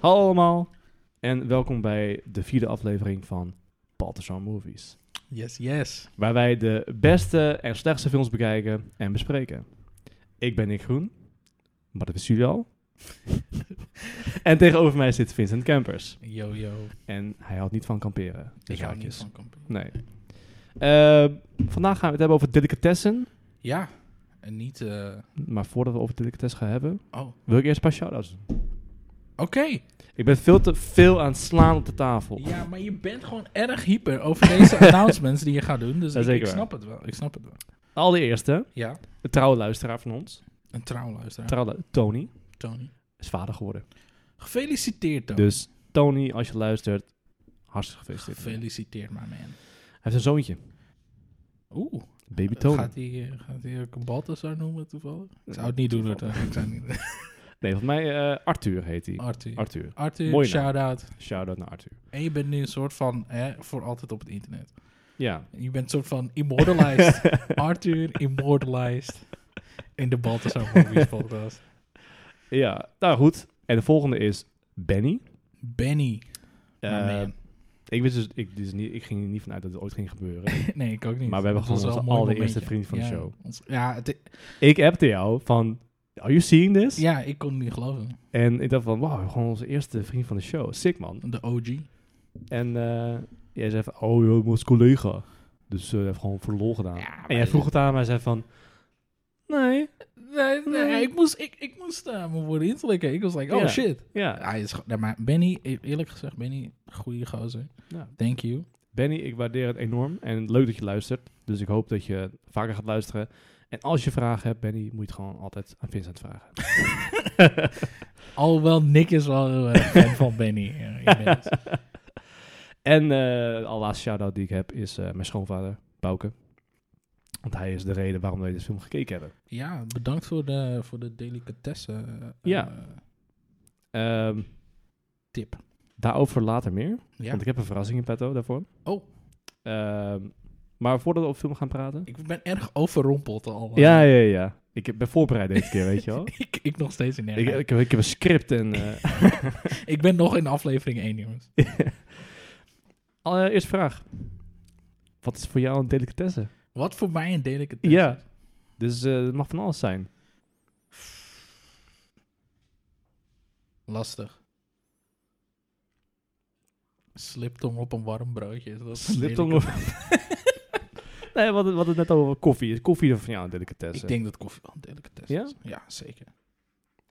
Hallo allemaal en welkom bij de vierde aflevering van Baltasar Movies. Yes, yes. Waar wij de beste en slechtste films bekijken en bespreken. Ik ben Nick Groen, maar dat is jullie al. en tegenover mij zit Vincent Kempers. Yo, yo. En hij houdt niet van kamperen. Dus hou haakjes. niet van kampioen. Nee. Eh, vandaag gaan we het hebben over delicatessen. Ja, en niet... eh, Maar voordat we over delicatessen gaan hebben, Oh, oké. wil ik eerst een paar shout-outs doen. Ik ben veel te veel aan het slaan op de tafel. Ja, maar je bent gewoon erg hyper over deze announcements die je gaat doen. Dat Dus ik, is zeker ik waar. snap het wel. Ik snap het wel. Allereerst, hè, Ja, een trouwe luisteraar van ons. een trouwluisteraar. Trouwe, lu- Tony Tony. is vader geworden. Gefeliciteerd, Tony. Dus Tony, als je luistert, hartstikke gefeliciteerd. Gefeliciteerd, maar man. Hij heeft een zoontje, Oeh. baby Tony. Gaat hij eh, gaat hij ook een Balthazar noemen toevallig? Ik zou het niet doen, hoor. Tony. Ik zou het niet doen. Nee, volgens mij eh, Arthur heet hij. Arthur. Arthur. Arthur, Mooi naam. shout-out. Shout-out naar Arthur. En je bent nu een soort van, hè, voor altijd op het internet. Ja. Je bent een soort van immortalized. Arthur immortalized. In de Baltasar Movies podcast. ja, nou goed. En de volgende is Benny. Benny. Eh, Maar man. ik, wist dus, ik, dus niet, ik ging er niet vanuit dat het ooit ging gebeuren. nee, ik ook niet. maar we hebben Dat gewoon was wel onze een mooi allereerste vriend momentje. van de Ja, show. ons- ja, het, ik appte jou van, are you seeing this? ja, ik kon het niet geloven. En ik dacht van, wauw, gewoon onze eerste vriend van de show. Sick man. De OG. En eh, jij zei van, oh joh, mijn collega. Dus eh heeft gewoon voor de lol gedaan. Ja, maar- en jij vroeg het aan mij zei van, nee. Nee, Nee. nee, ik moest, ik, ik moest eh, mijn woorden inslikken. Ik was like, oh Ja. shit. Ja. Hij is, ge- nee, maar Benny, e- eerlijk gezegd, Benny, goede gozer. Ja. Thank you. Nou, Benny, ik waardeer het enorm. En leuk dat je luistert. Dus ik hoop dat je vaker gaat luisteren. En als je vragen hebt, Benny, moet je het gewoon altijd aan Vincent vragen. Alhoewel Nick is wel heel erg fan van Benny. eh, Ja, ik ben het. En eh de allerlaatste shout-out die ik heb is eh, mijn schoonvader, Bouke. Want hij is de reden waarom wij deze film gekeken hebben. Ja, bedankt voor de, voor de delicatessen eh, Ja. Ehm, tip. daarover later meer. Ja. Want ik heb een verrassing in petto daarvoor. Oh. Ehm, maar voordat we over film gaan praten... Ik ben erg overrompeld al. Ja, ja, ja. Ik heb- ben voorbereid deze keer, weet je wel. ik, ik nog steeds in ik, erg. Ik, ik, heb, ik heb een script en... eh ben nog in aflevering 1, jongens. Allereerst eh, vraag. Wat is voor jou een delicatesse? Wat voor mij een delicatesse Ja. is. Dus eh, het mag van alles zijn. Lastig. Sliptong op een warm broodje. Dat is een Sliptong delicate- Nee, wat, wat het net over koffie is. Koffie is van jou een delicatesse. Ik denk dat koffie wel een delicatesse Ja? is. Ja, zeker.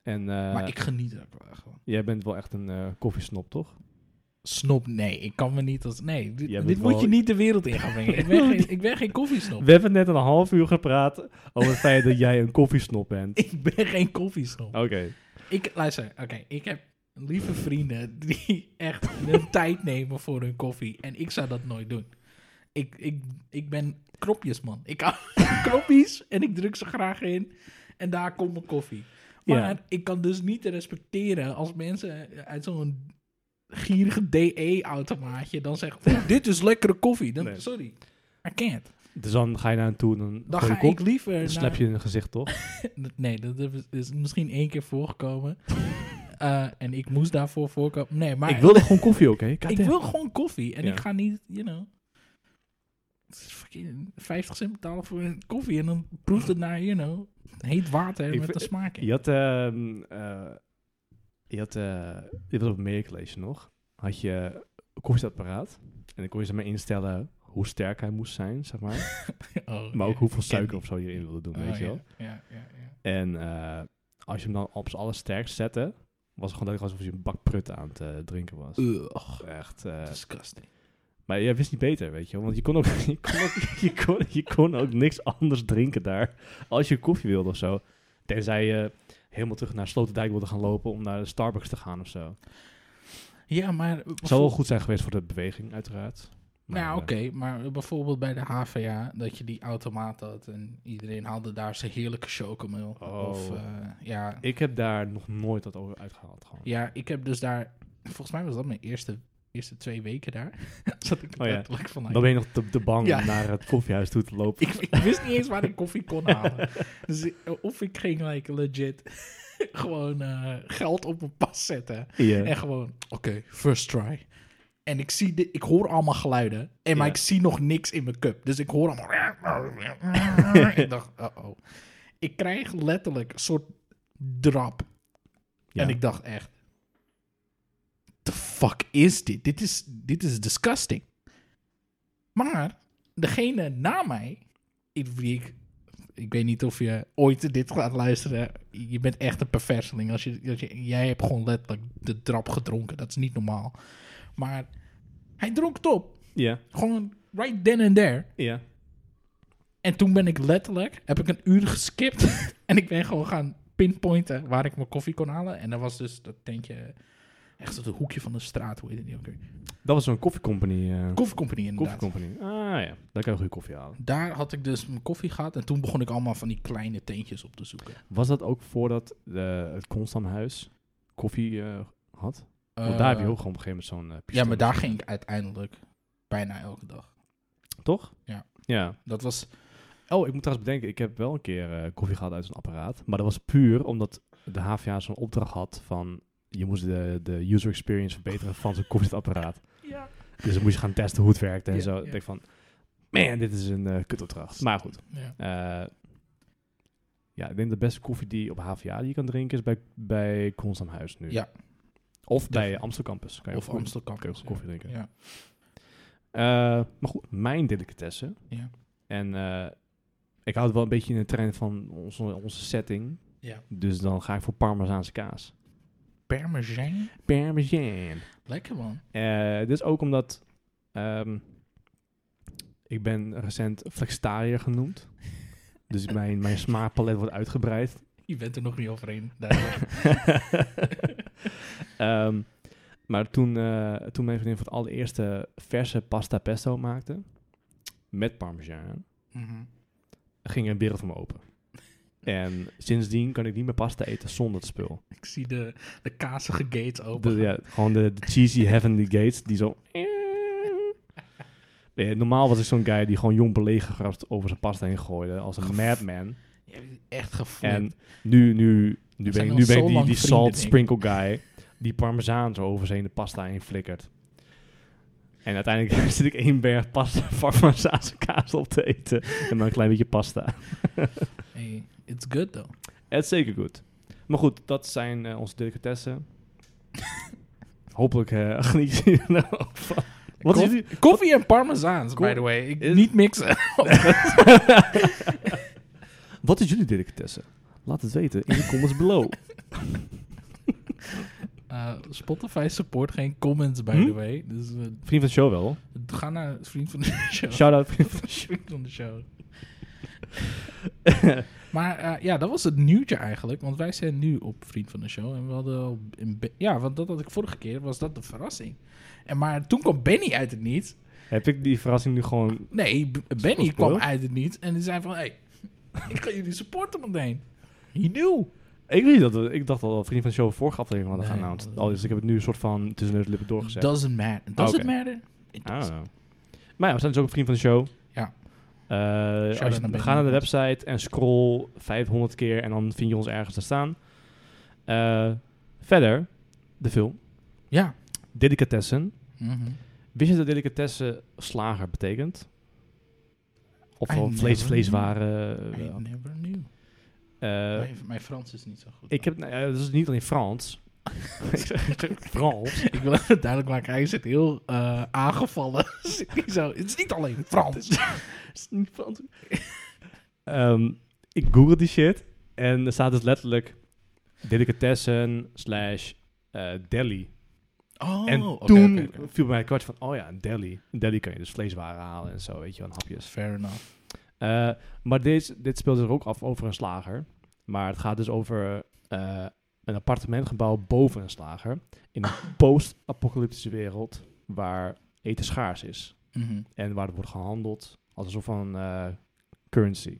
En eh, maar ik geniet er ook wel echt van. jij bent wel echt een eh, koffiesnop, toch? Snop, nee. Ik kan me niet als... Nee, dit, Jij dit bent moet wel- je niet de wereld in gaan brengen. ik, ben geen, ik ben geen koffiesnop. We hebben net een half uur gepraat over het feit dat jij een koffiesnop bent. Ik ben geen koffiesnop. Oké. Ik, luister, oké, ik heb lieve vrienden die echt hun tijd nemen voor hun koffie. En ik zou dat nooit doen. Ik, ik, ik ben kropjesman. Ik hou van kroppies en ik druk ze graag in. En daar komt mijn koffie. Maar Ja. ik kan dus niet respecteren als mensen uit zo'n gierige DE-automaatje dan zeggen... "Oeh, dit is lekkere koffie. Dan, Nee. Sorry, I can't. Dus dan ga je naar hem toe en dan, Dan eh, gooi je ga kop- ik liever dan naar- slap je in het gezicht, toch? Nee, dat is- is misschien één keer voorgekomen. Eh, en ik moest daarvoor voorkomen. Nee, maar ik wilde gewoon koffie, oké? ik Goddamn. wil gewoon koffie. En Ja. ik ga niet, you know... het is fucking 50 cent betalen voor een koffie. En dan proeft het naar, you know... Heet water Ik met vind- de smaak in. Je had, ehm, eh, je had, eh, dit was op meer college nog, had je een koffiezetapparaat en dan kon je zeg maar instellen hoe sterk hij moest zijn, zeg maar. Oh, Maar ook ja. hoeveel Ik ken suiker die. of zo je erin wilde doen, Oh, weet je ja, wel. Ja, ja, ja. En eh, als je hem dan op z'n allersterkst zette, was het gewoon duidelijk alsof je een bak prut aan het eh, drinken was. Ugh, Echt. eh, disgusting. maar jij wist niet beter, weet je wel. Want je kon, ook, je, kon ook, je, kon, je kon ook niks anders drinken daar. Als je koffie wilde of zo. Tenzij je helemaal terug naar Sloterdijk wilde gaan lopen om naar de Starbucks te gaan of zo. Ja, maar... Zou wel goed zijn geweest voor de beweging, uiteraard. Maar, Nou, eh, oké, maar bijvoorbeeld bij de HVA, dat je die automaat had en iedereen haalde daar zijn heerlijke chocomel. Oh. Of, eh, ja, ik heb daar nog nooit dat over uitgehaald. Gewoon. ja, ik heb dus daar, volgens mij was dat mijn eerste, eerste twee weken daar. zat ik Oh ja. letterlijk van, Dan ben je nog te, te bang Ja. om naar het koffiehuis toe te lopen. ik, ik wist niet eens waar ik koffie kon halen. Dus ik- of ik ging like legit gewoon eh, geld op mijn pas zetten. Ja. En gewoon, oké, first try. En ik, zie de, ik hoor allemaal geluiden. En maar Ja. ik zie nog niks in mijn cup. Dus ik hoor allemaal... ik dacht, uh-oh. Ik krijg letterlijk een soort drap. Ja. En ik dacht echt... The fuck is dit? Dit is, dit is disgusting. Maar degene na mij... Ik, ik, ik weet niet of je ooit dit gaat luisteren. Je bent echt een perverseling. Als je, als je, jij hebt gewoon letterlijk de drap gedronken. Dat is niet normaal. Maar hij dronk het op. Ja. Gewoon right then and there. Ja. En toen ben ik letterlijk, heb ik een uur geskipt. en ik ben gewoon gaan pinpointen waar ik mijn koffie kon halen. En dat was dus dat tentje, echt op het hoekje van de straat, hoe heet het niet ook weer. Dat was zo'n koffiecompany. eh Koffiecompany inderdaad. koffiecompany. Ah ja, daar kan je goede koffie halen. Daar had ik dus mijn koffie gehad. En toen begon ik allemaal van die kleine tentjes op te zoeken. Was dat ook voordat eh, het Constamhuis koffie eh, had? Want Oh, daar heb je Eh, ook gewoon op een gegeven moment zo'n eh, Ja, pistool. maar daar ging ik uiteindelijk bijna elke dag. Toch? Ja. Ja. Dat was... Oh, ik moet trouwens bedenken, ik heb wel een keer eh, koffie gehad uit zo'n apparaat. Maar dat was puur omdat de HVA zo'n opdracht had van... Je moest de, de user experience verbeteren van zo'n koffiezetapparaat. Ja. Dus dan moest je gaan testen hoe het werkte en Ja, zo. ja. Ik denk van, man, dit is een eh, kutopdracht. Maar goed. eh, ja, ik denk de beste koffie die op HVA die je kan drinken is bij, bij Constam Huis nu. Ja. Of bij Definitief. Amstel Campus. Kan je Of ook goed- Amstel kan je Campus. ook koffie drinken. Ja. Eh, maar goed, mijn delicatessen. Ja. En eh, ik hou het wel een beetje in de trein van onze, onze setting. Ja. Dus dan ga ik voor Parmezaanse kaas. Parmesan. Parmezaan. Lekker man. Eh dus ook omdat ehm, ik ben recent flexitariër genoemd. Dus mijn, mijn smaakpalet wordt uitgebreid. Je bent er nog niet overheen. Daar- Ehm, maar toen, eh, toen mijn vriendin voor het allereerste verse pasta pesto maakte, met parmezaan, Mhm. ging er een wereld voor me open. En sindsdien kan ik niet meer pasta eten zonder het spul. Ik zie de, de kazige gates open. De, ja, gewoon de, de cheesy heavenly gates die zo... Nee, normaal was ik zo'n guy die gewoon jong belegergras over zijn pasta heen gooide als een madman. Je hebt echt gevoeld. En nu, nu, nu ben zijn ik, al nu ben zo ik die, lang die vrienden, salt denk ik. sprinkle guy die parmezaan zo over zijn de pasta heen flikkert. En uiteindelijk zit ik één berg pasta, parmezaanse kaas op te eten en dan een klein beetje pasta. Hey, it's good though. Het is zeker goed. Maar goed, dat zijn eh, onze delicatessen. Hopelijk eh, geniet je er nou ook van. Wat is Koff- jullie- Koffie en parmezaans, Ko- by the way. Ik, is- Niet mixen. Wat is jullie delicatessen? Laat het weten in de comments below. Eh, Spotify support geen comments, by Hm? the way. Dus eh, Vriend van de show wel. ga naar vriend van de show. Shout-out vriend van de vriend van de show. maar eh, ja, dat was het nieuwtje eigenlijk. Want wij zijn nu op vriend van de show. En we hadden al een be- Ja, want dat had ik vorige keer. Was dat de verrassing. En maar toen kwam Benny uit het niet. Heb ik die verrassing nu gewoon... Nee, B- Spoil, Benny spoil. kwam uit het niet en die zei van... hey, ik ga jullie supporten meteen. He knew. Ik weet niet dat we- Ik dacht al dat vriend van de show vorige aflevering hadden Nee. geannounced. Al dus ik heb het nu een soort van tussen de lippen doorgezet. Doesn't matter. Does Oké. it matter? It I don't does. know. Maar ja, we zijn dus ook een vriend van de show. Ah. Ja. Eh, als je- Shout-out naar Ben ga naar de Nichols. website en scroll 500 keer en dan vind je ons ergens te staan. Eh, verder, de film. Ja. Delicatessen. Mhm. Wist je dat delicatessen slager betekent? Of I gewoon vlees, never vleeswaren. I never knew. eh, eh, mijn, mijn Frans is niet zo goed. ik heb, nou ja, dat is niet alleen Frans. Frans. Ik wil even duidelijk maken. Hij zit heel eh, aangevallen. Zit niet zo, het is niet alleen Frans. Ehm, ik google die shit en er staat dus letterlijk delicatessen slash eh, deli. Oh, en oké, toen oké, oké. viel bij mij kwart van, oh ja, een deli. Een deli kan je dus vleeswaren halen en zo, weet je wel, en hapjes. Fair enough. Eh, maar deze, dit speelt zich ook af over een slager. Maar het gaat dus over eh, een appartementgebouw boven een slager. In een post-apocalyptische wereld waar eten schaars is. Mhm. En waar het wordt gehandeld als een soort van eh, currency.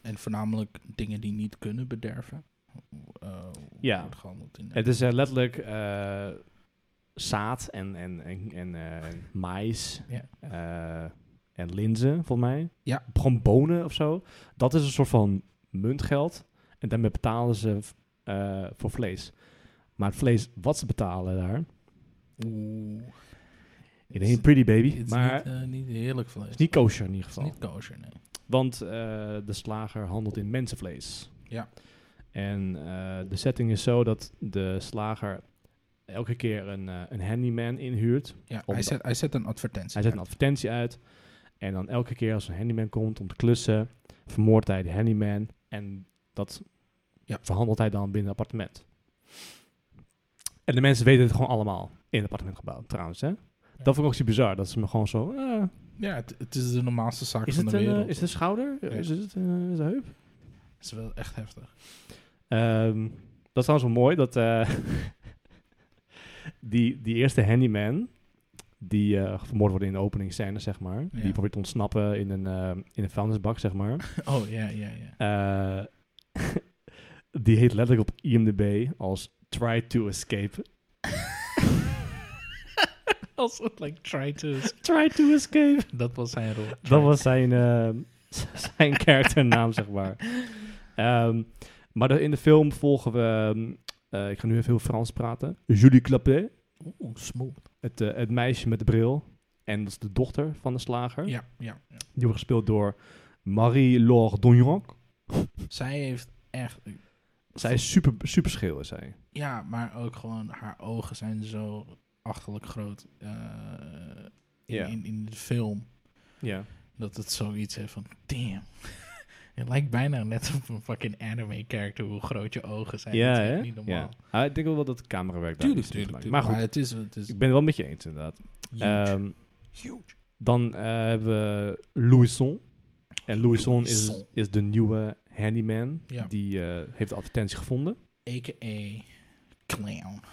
En voornamelijk dingen die niet kunnen bederven. Eh, Ja. wordt gehandeld in Het is eh, letterlijk eh, zaad en, en, en, en eh, en maïs Ja. eh, en linzen, volgens mij. Ja. Gewoon bonen of zo. Dat is een soort van muntgeld. En daarmee betalen ze eh, eh, voor vlees. Maar het vlees wat ze betalen daar, Oeh. it ain't pretty baby, Het is maar niet, eh, niet heerlijk vlees. het is niet kosher in ieder Het is geval. niet kosher, nee. Want eh, de slager handelt in mensenvlees. Ja. En eh, de setting is zo dat de slager elke keer een, eh, een handyman inhuurt. Ja, hij Omdat- zet, hij zet een advertentie. Hij zet een advertentie uit. En dan elke keer als een handyman komt om te klussen, vermoordt hij de handyman. En dat Ja. verhandelt hij dan binnen het appartement. En de mensen weten het gewoon allemaal in het appartementgebouw trouwens. Hè? Dat vond ik ook zo bizar. Dat ze me gewoon zo... eh, Ja, het, het is de normaalste zaak is, van het de een, eh, wereld. is het een schouder? Is het eh, is het een heup? Het is wel echt heftig. Ehm, dat is trouwens wel mooi, dat eh, die, die eerste handyman, die eh, vermoord wordt in de openingsscène, zeg maar. Ja. Die probeert te ontsnappen in een, ehm in een vuilnisbak, zeg maar. Oh, ja, ja, ja. Eh, die heet letterlijk op IMDb als Try to Escape. Als het like try to... Try to Escape. Dat was zijn rol. Dat was zijn, eh, zijn karakternaam, zeg maar. Ehm, maar de- in de film volgen we... ehm, eh, ik ga nu even heel Frans praten. Julie Clapet. Oeh, smooth. het, eh, het meisje met de bril. En dat is de dochter van de slager. Ja, ja. ja. Die wordt gespeeld door Marie-Laure Dongronk. Zij heeft echt... Zij is super, super scheel, is zij. Ja, maar ook gewoon haar ogen zijn zo achterlijk groot eh, in, Ja. in, in de film. Ja. Dat het zoiets heeft van, damn. Het lijkt bijna net op een fucking anime-character hoe groot je ogen zijn. Ja, dat is echt hè? niet normaal. ja. Ah, ik denk wel dat het camerawerk daar Tuurlijk, iets mee te tuurlijk, maken. tuurlijk. Maar Maar goed, het is... Het is ik ben het wel met je eens, inderdaad. huge. Ehm, huge. dan eh, hebben we Louison. En Louison is, Louison. is de nieuwe handyman. Ja. Die eh, heeft de advertentie gevonden. A.k.a. clown.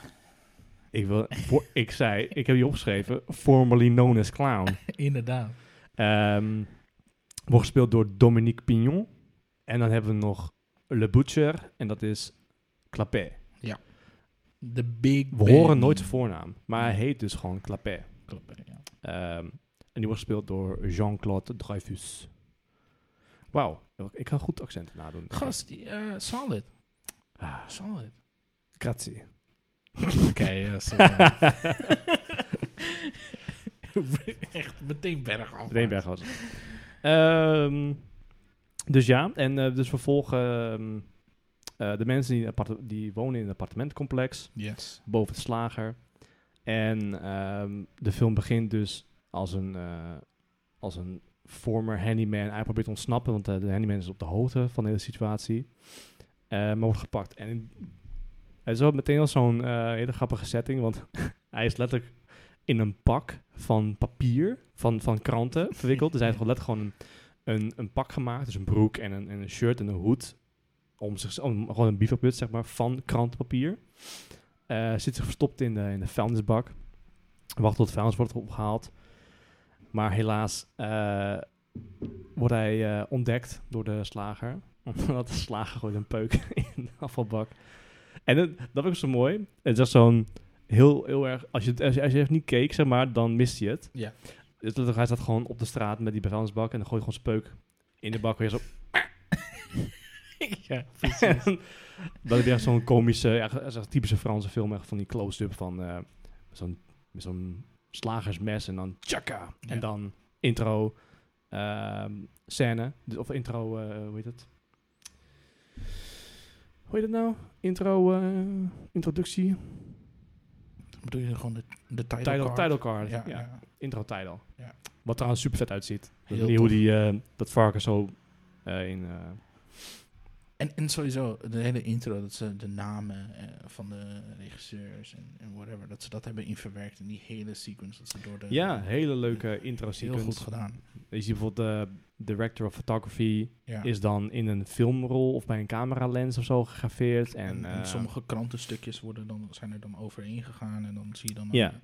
Ik, wil, voor, ik zei, ik heb hier opgeschreven, formerly known as clown. Inderdaad. Ehm wordt gespeeld door Dominique Pignon. En dan hebben we nog Le Butcher. En dat is Clapet. The Big We horen nooit zijn voornaam. Maar hij heet dus gewoon Clapet. ja. Ehm, en die wordt gespeeld door Jean-Claude Dreyfus. Wauw. Ik ga goed accenten nadoen. Gast, eh, solid. Ah, Solid. grazie. Oké, ja, solid. Echt meteen bergaf. Reenberg was het. Ehm, dus ja, en eh, dus we volgen ehm, eh, de mensen die, in een aparte- die wonen in een appartementcomplex. Yes. boven de slager. En ehm, de film begint dus als een, eh, als een former handyman. Hij probeert te ontsnappen, want eh, de handyman is op de hoogte van de hele situatie. Eh, maar wordt gepakt. En in- het is ook meteen al zo'n eh, hele grappige setting, want hij is letterlijk in een pak van papier, van, van kranten verwikkeld. Dus hij heeft gewoon letterlijk gewoon een, een, een pak gemaakt, dus een broek en een, en een shirt en een hoed. Om zich, om, gewoon een bivakmuts, zeg maar, van krantenpapier. Eh, zit zich verstopt in de, in de vuilnisbak. Wacht tot het vuilnis wordt opgehaald. Maar helaas eh, wordt hij eh, ontdekt door de slager. Omdat de slager gooit een peuk in de afvalbak. En dat, dat vind ik zo mooi. Het is echt zo'n heel, heel erg... Als je, het- als, je, als je even niet keek, zeg maar, dan mist je het. Ja. Dus letterlijk, hij staat gewoon op de straat met die vuilnisbak. En dan gooit gewoon zijn peuk in de bak weer zo. ja, precies. Dat is echt zo'n komische, echt, echt zo'n typische Franse film, echt van die close-up van eh, zo'n met zo'n slagersmes en dan tjaka. Ja. En dan intro ehm, scène, dus, of intro, eh, hoe heet het? Hoe heet het nou? Intro, eh, introductie? Dan bedoel je gewoon de, de title Title, card? title card. Ja, Ja, ja. intro title. Ja. Wat trouwens super vet uitziet. Heel Ik weet niet hoe die, eh, dat varken zo eh, in... eh, En, en sowieso, de hele intro, dat ze de namen eh, van de regisseurs en, en whatever, dat ze dat hebben inverwerkt in die hele sequence. Dat ze door de, ja, hele leuke intro Eh, heel sequence. goed gedaan. Je ziet bijvoorbeeld de director of photography Ja. is dan in een filmrol of bij een cameralens of zo gegraveerd. En, En, en eh, sommige krantenstukjes worden dan, zijn er dan overheen gegaan. En dan zie je dan, Ja. eh,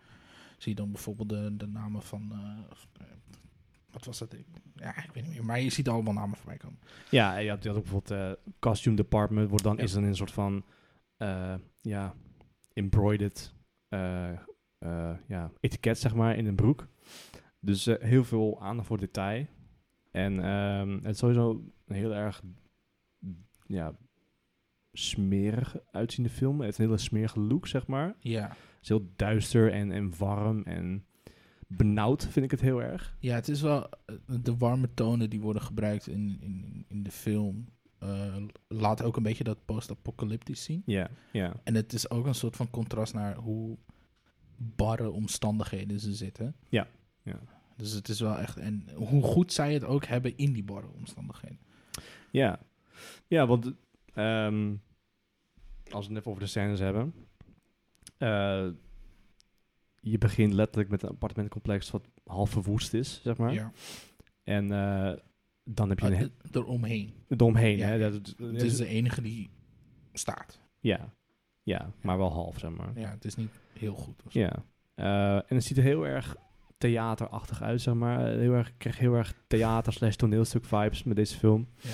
zie je dan bijvoorbeeld de, de namen van. eh, of, eh, wat was dat? Ik- Ja, ik weet niet meer. Maar je ziet allemaal namen voorbij komen. Ja, en je had, je had ook bijvoorbeeld eh costume department, wordt dan, Ja. is dan in een soort van, eh, ja, embroidered eh, eh, ja, etiket, zeg maar, in een broek. Dus eh, heel veel aandacht voor detail. En ehm, het is sowieso een heel erg, ja, smerig uitziende film. Hij heeft een hele smerige look, zeg maar. Ja. Het is heel duister en, en warm en benauwd vind ik het heel erg. ja, het is wel... eh, De warme tonen die worden gebruikt in, in, in de film... eh, laat ook een beetje dat post-apocalyptisch zien. Ja, ja. En het is ook een soort van contrast naar hoe barre omstandigheden ze zitten. Ja, ja. Dus het is wel echt... En hoe goed zij het ook hebben in die barre omstandigheden. Ja, ja want ehm, als we het even over de scènes hebben. eh, je begint letterlijk met een appartementcomplex wat half verwoest is, zeg maar. Ja. En eh, dan heb je Ah, een eh, eromheen. he- eromheen. ja. hè? Dat, Het is de enige die staat. ja. ja, maar wel half, zeg maar. Ja, het is niet heel goed. of zo. Ja. Eh, en het ziet er heel erg theaterachtig uit, zeg maar. Heel erg, ik kreeg heel erg theater slash toneelstuk vibes met deze film. Ja.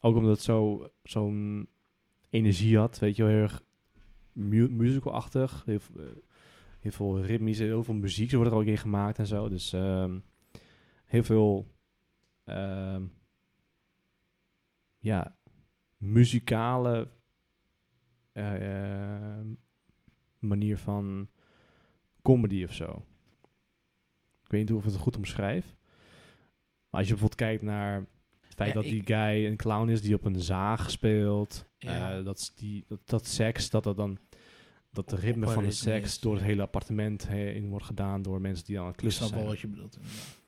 Ook omdat het zo, zo'n energie had, weet je wel, heel erg mu- musical-achtig. Heel, veel, eh, heel veel ritmische, heel veel muziek, zo wordt er ook in gemaakt en zo. Dus ehm, heel veel, ehm, ja, muzikale eh, eh, manier van comedy of zo. Ik weet niet of ik het goed omschrijf. Maar als je bijvoorbeeld kijkt naar het feit Ja, dat ik- die guy een clown is die op een zaag speelt. Ja. Eh, dat, is die, dat, dat seks, dat dat dan... Dat de Op- ritme op een van de ritme seks is, door ja. het hele appartement heen wordt gedaan door mensen die aan het Ik klussen snap zijn. wel wat je bedoelt. inderdaad.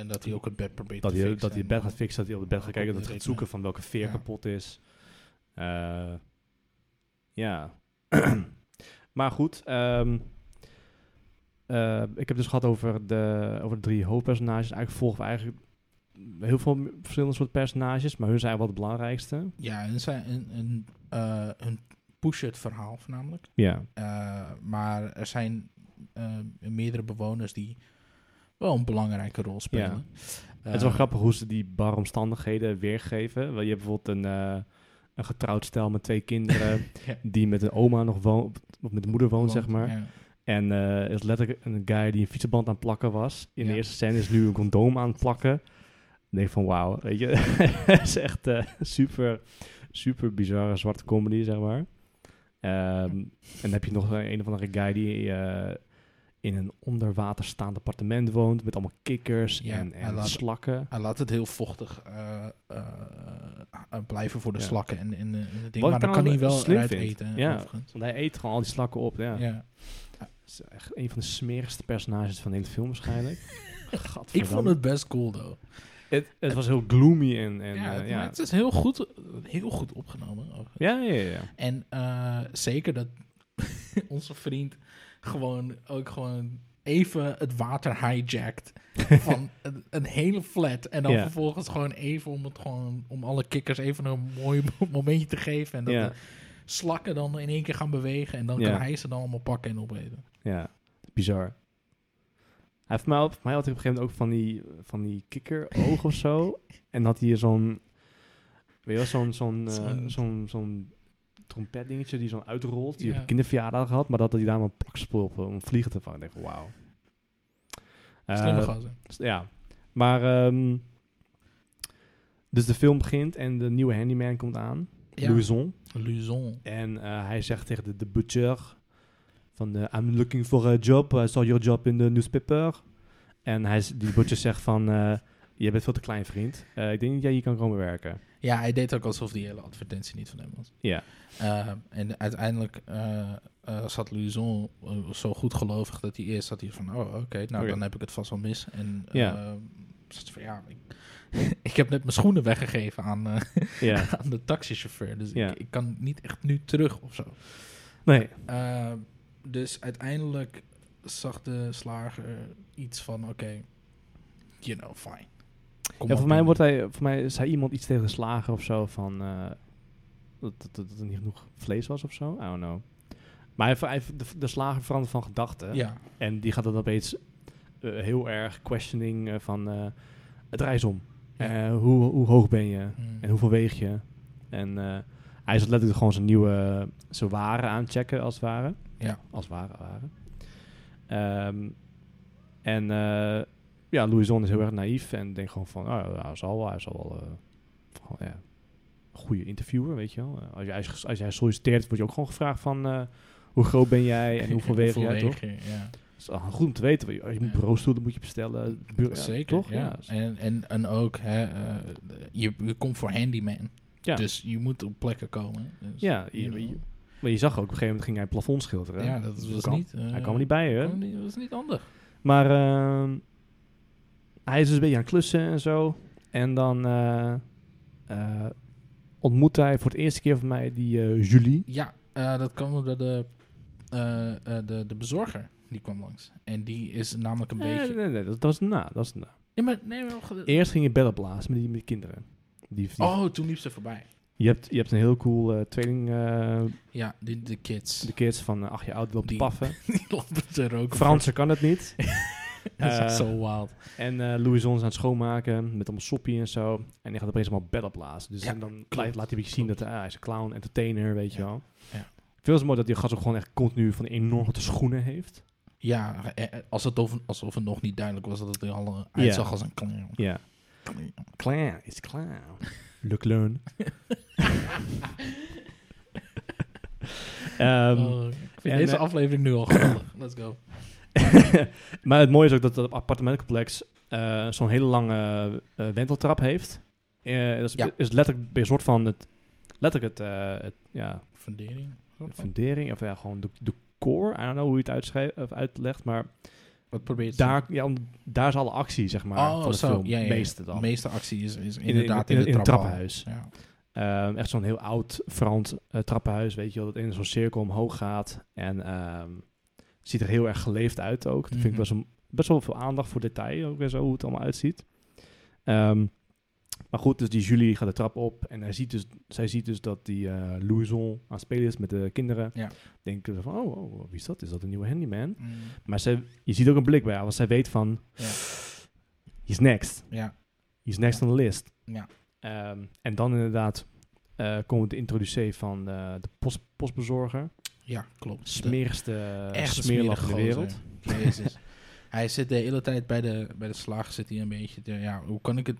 En dat hij ook het bed probeert eh, dat te hij fixen dat hij het bed gaat fixen, dat hij op het bed gaat Op kijken, de dat hij gaat ritme. zoeken van welke veer Ja. kapot is. Eh, ja. maar goed, ehm, eh, ik heb het dus gehad over de, over de drie hoofdpersonages. Eigenlijk volgen we eigenlijk heel veel m- verschillende soort personages, maar hun zijn wel de belangrijkste. Ja, en zijn een, een, eh, een push het verhaal voornamelijk. Ja, Eh, maar er zijn eh, meerdere bewoners die wel een belangrijke rol spelen. Eh, het is wel grappig hoe ze die barre omstandigheden weergeven. Wel, Je hebt bijvoorbeeld een, eh, een getrouwd stel met twee kinderen, Ja. die met een oma nog woont, of met de moeder woont, want, zeg maar. ja. En eh, er is letterlijk een guy die een fietsenband aan het plakken was. In Ja. de eerste scène is nu een condoom aan het plakken. Ik denk van wauw, weet je. Het is echt eh, super, super bizarre zwarte comedy, zeg maar. Ehm, en dan heb je nog een, een of andere guy die eh, in een onderwater staand appartement woont. Met allemaal kikkers Ja, en, hij en laat- slakken. Hij laat het heel vochtig eh, eh, eh, blijven voor de Ja. slakken en, en, eh, en het ding. Wat maar ik dan nou kan hij wel slim eruit vind. eten. Ja. overigens. Want hij eet gewoon al die slakken op. Ja. ja. Het is echt een van de smerigste personages van de hele film waarschijnlijk. Ik Gadverdamme. vond het best cool, though. het... Het was heel gloomy en... en ja, eh, het- ja. maar het is heel goed, heel goed opgenomen. overigens. ja, ja, ja. En eh, zeker dat onze vriend gewoon ook gewoon even het water hijjackt van een, een hele flat. En dan Ja. vervolgens gewoon even om het gewoon om alle kikkers even een mooi momentje te geven. En dat eh, Ja. de slakken dan in één keer gaan bewegen. En dan Ja. kan hij ze dan allemaal pakken en opeten. Ja, bizar. Hij heeft mij, op, mij had hij op een gegeven moment ook van die, van die kikkeroog of zo. En had hij zo'n, weet je wel, zo'n, zo'n, eh, Zo'n- zo'n, zo'n trompetdingetje die zo'n uitrolt. Die Ja. op kinderverjaardag had, maar dat hij daar maar een plakspul op om vliegen te vangen. Ik denk, wauw. Eh, Slimme gozer. s- ja, maar ehm, dus de film begint en de nieuwe handyman komt aan, Ja. Louison. Luzon. En eh, hij zegt tegen de, de butcher van eh, I'm looking for a job. I saw your job in the newspaper. En hij, z- die butcher zegt van eh, je bent veel te klein vriend. Eh, ik denk dat jij hier kan komen werken. Ja, hij deed ook alsof die hele advertentie niet van hem was. Ja. Eh, en uiteindelijk eh, eh, zat Louison eh, zo goed gelovig dat hij eerst zat hier van, oh oké, nou Oké. dan heb ik het vast wel mis. En Ja. eh, zat hij van, ja, ik, ik heb net mijn schoenen weggegeven aan, eh, Ja. aan de taxichauffeur, dus Ja. ik, ik kan niet echt nu terug of zo. Nee. Eh, dus uiteindelijk zag de slager iets van, oké, you know, fine. Kom Ja, op voor, mij dan. wordt hij, voor mij zei iemand iets tegen de slager of zo van eh, dat, dat, dat er niet genoeg vlees was of zo. I don't know. Maar hij, ver- hij ver- de, de slager verandert van gedachten. Ja, En die gaat dan opeens eh, heel erg questioning eh, van eh, het reis om. Ja. Eh, hoe, hoe hoog ben je? Mm. En hoeveel weeg je? En eh, hij zat letterlijk gewoon zijn nieuwe, zijn waren aanchecken als het ware. Ja. Als het ware, ware. Ehm, en eh, ja, "Ah, Louison is heel erg naïef en denkt gewoon van, oh, ja, hij zal wel, hij zal wel, eh, gewoon, ja, goede interviewer, weet je wel. Eh, Als jij, als jij solliciteert, word je ook gewoon gevraagd van eh, hoe groot ben jij en hoeveel weeg jij, toch? je, ja. Het is al goed om te weten. want je- Als je moet Ja. bureaustoelen moet je bestellen. Bu- ja, dus- Zeker, toch? ja. En, en, en ook, hè, eh, je, je komt voor handyman. Ja. Dus je moet op plekken komen. Dus, Ja, je- you know. je- maar je zag ook op een gegeven moment ging hij het plafond schilderen. ja, dat was kan- niet... eh, Hij kwam er niet bij, hè? kwam niet- Dat was niet handig. Maar ehm, hij is dus een beetje aan het klussen en zo. En dan eh eh, ontmoet hij voor het eerste keer van mij die eh, Julie. Ja, eh, dat kwam omdat de, eh, eh, de, de bezorger, die kwam langs. En die is namelijk een Eh, beetje... Nee, nee, dat, dat is na. Dat is na. Nee, maar, nee, maar, ge- Eerst ging je bellen blazen met die met die kinderen. Die, die- oh, toen liep ze voorbij. je, hebt, je hebt een heel cool eh, tweeling, eh, Ja, de, de kids. de kids van eh, acht jaar oud, die loopt te Die- paffen. Die lopen er ook Fransen kan het niet. voor. Dat is echt eh, zo wild. En eh Louison is aan het schoonmaken met allemaal soppie en zo. En die gaat opeens allemaal bellen blazen. Dus Ja, en dan laat- klopt. laat hij een beetje zien dat eh, hij is een clown, entertainer, weet je Ja, wel. ja. Ik vind het zo mooi dat die gast ook gewoon echt continu van enorm grote schoenen heeft. Ja, eh, eh, als het over, alsof het nog niet duidelijk was dat het er al eh, uitzag als een clown. Ja. Clown is clown. Le clown. Ehm, Oh, ik vind en, deze eh, aflevering nu al geweldig. Let's go. maar het mooie is ook dat dat appartementcomplex eh, zo'n hele lange eh, wenteltrap heeft. Eh, dat is, Ja. is letterlijk een soort van het, letterlijk het, eh, het ja, Fundering. De fundering, of ja, gewoon de, de core. I don't know hoe je het uitschrijft of uitlegt, maar Oh, Wat probeert ze? daar, ja, om, daar is alle actie, zeg maar, oh, van de zo. film. Ja, ja, ja. meeste dan. De meeste actie is, is in- inderdaad in- in, in het het trappenhuis. trappenhuis. Ja. Ehm, echt zo'n heel oud Frans eh, trappenhuis, weet je wel, dat in zo'n cirkel omhoog gaat. En ehm, ziet er heel erg geleefd uit ook. Dat vind ik Mhm. best, wel- best wel veel aandacht voor detail ook en zo, hoe het allemaal uitziet. Ehm, maar goed, dus die Julie gaat de trap op en hij ziet dus, zij ziet dus dat die eh Louison aan het spelen is met de kinderen. Ja. Denken ze van, oh, oh, wie is dat? Is dat een nieuwe handyman? Mm, Maar zij, je ziet ook een blik bij haar, want zij weet van... Ja. He's next. ja. He's next on the list. Ja. Ehm, en dan inderdaad eh komen we de introducee van eh, de post, postbezorger. ja, klopt. Smerigste De- echt echt een smeerlap eh, in de smerige wereld. gozer. Jezus. hij zit de hele tijd bij de, bij de slag, zit hij een beetje te, ja, hoe kan ik het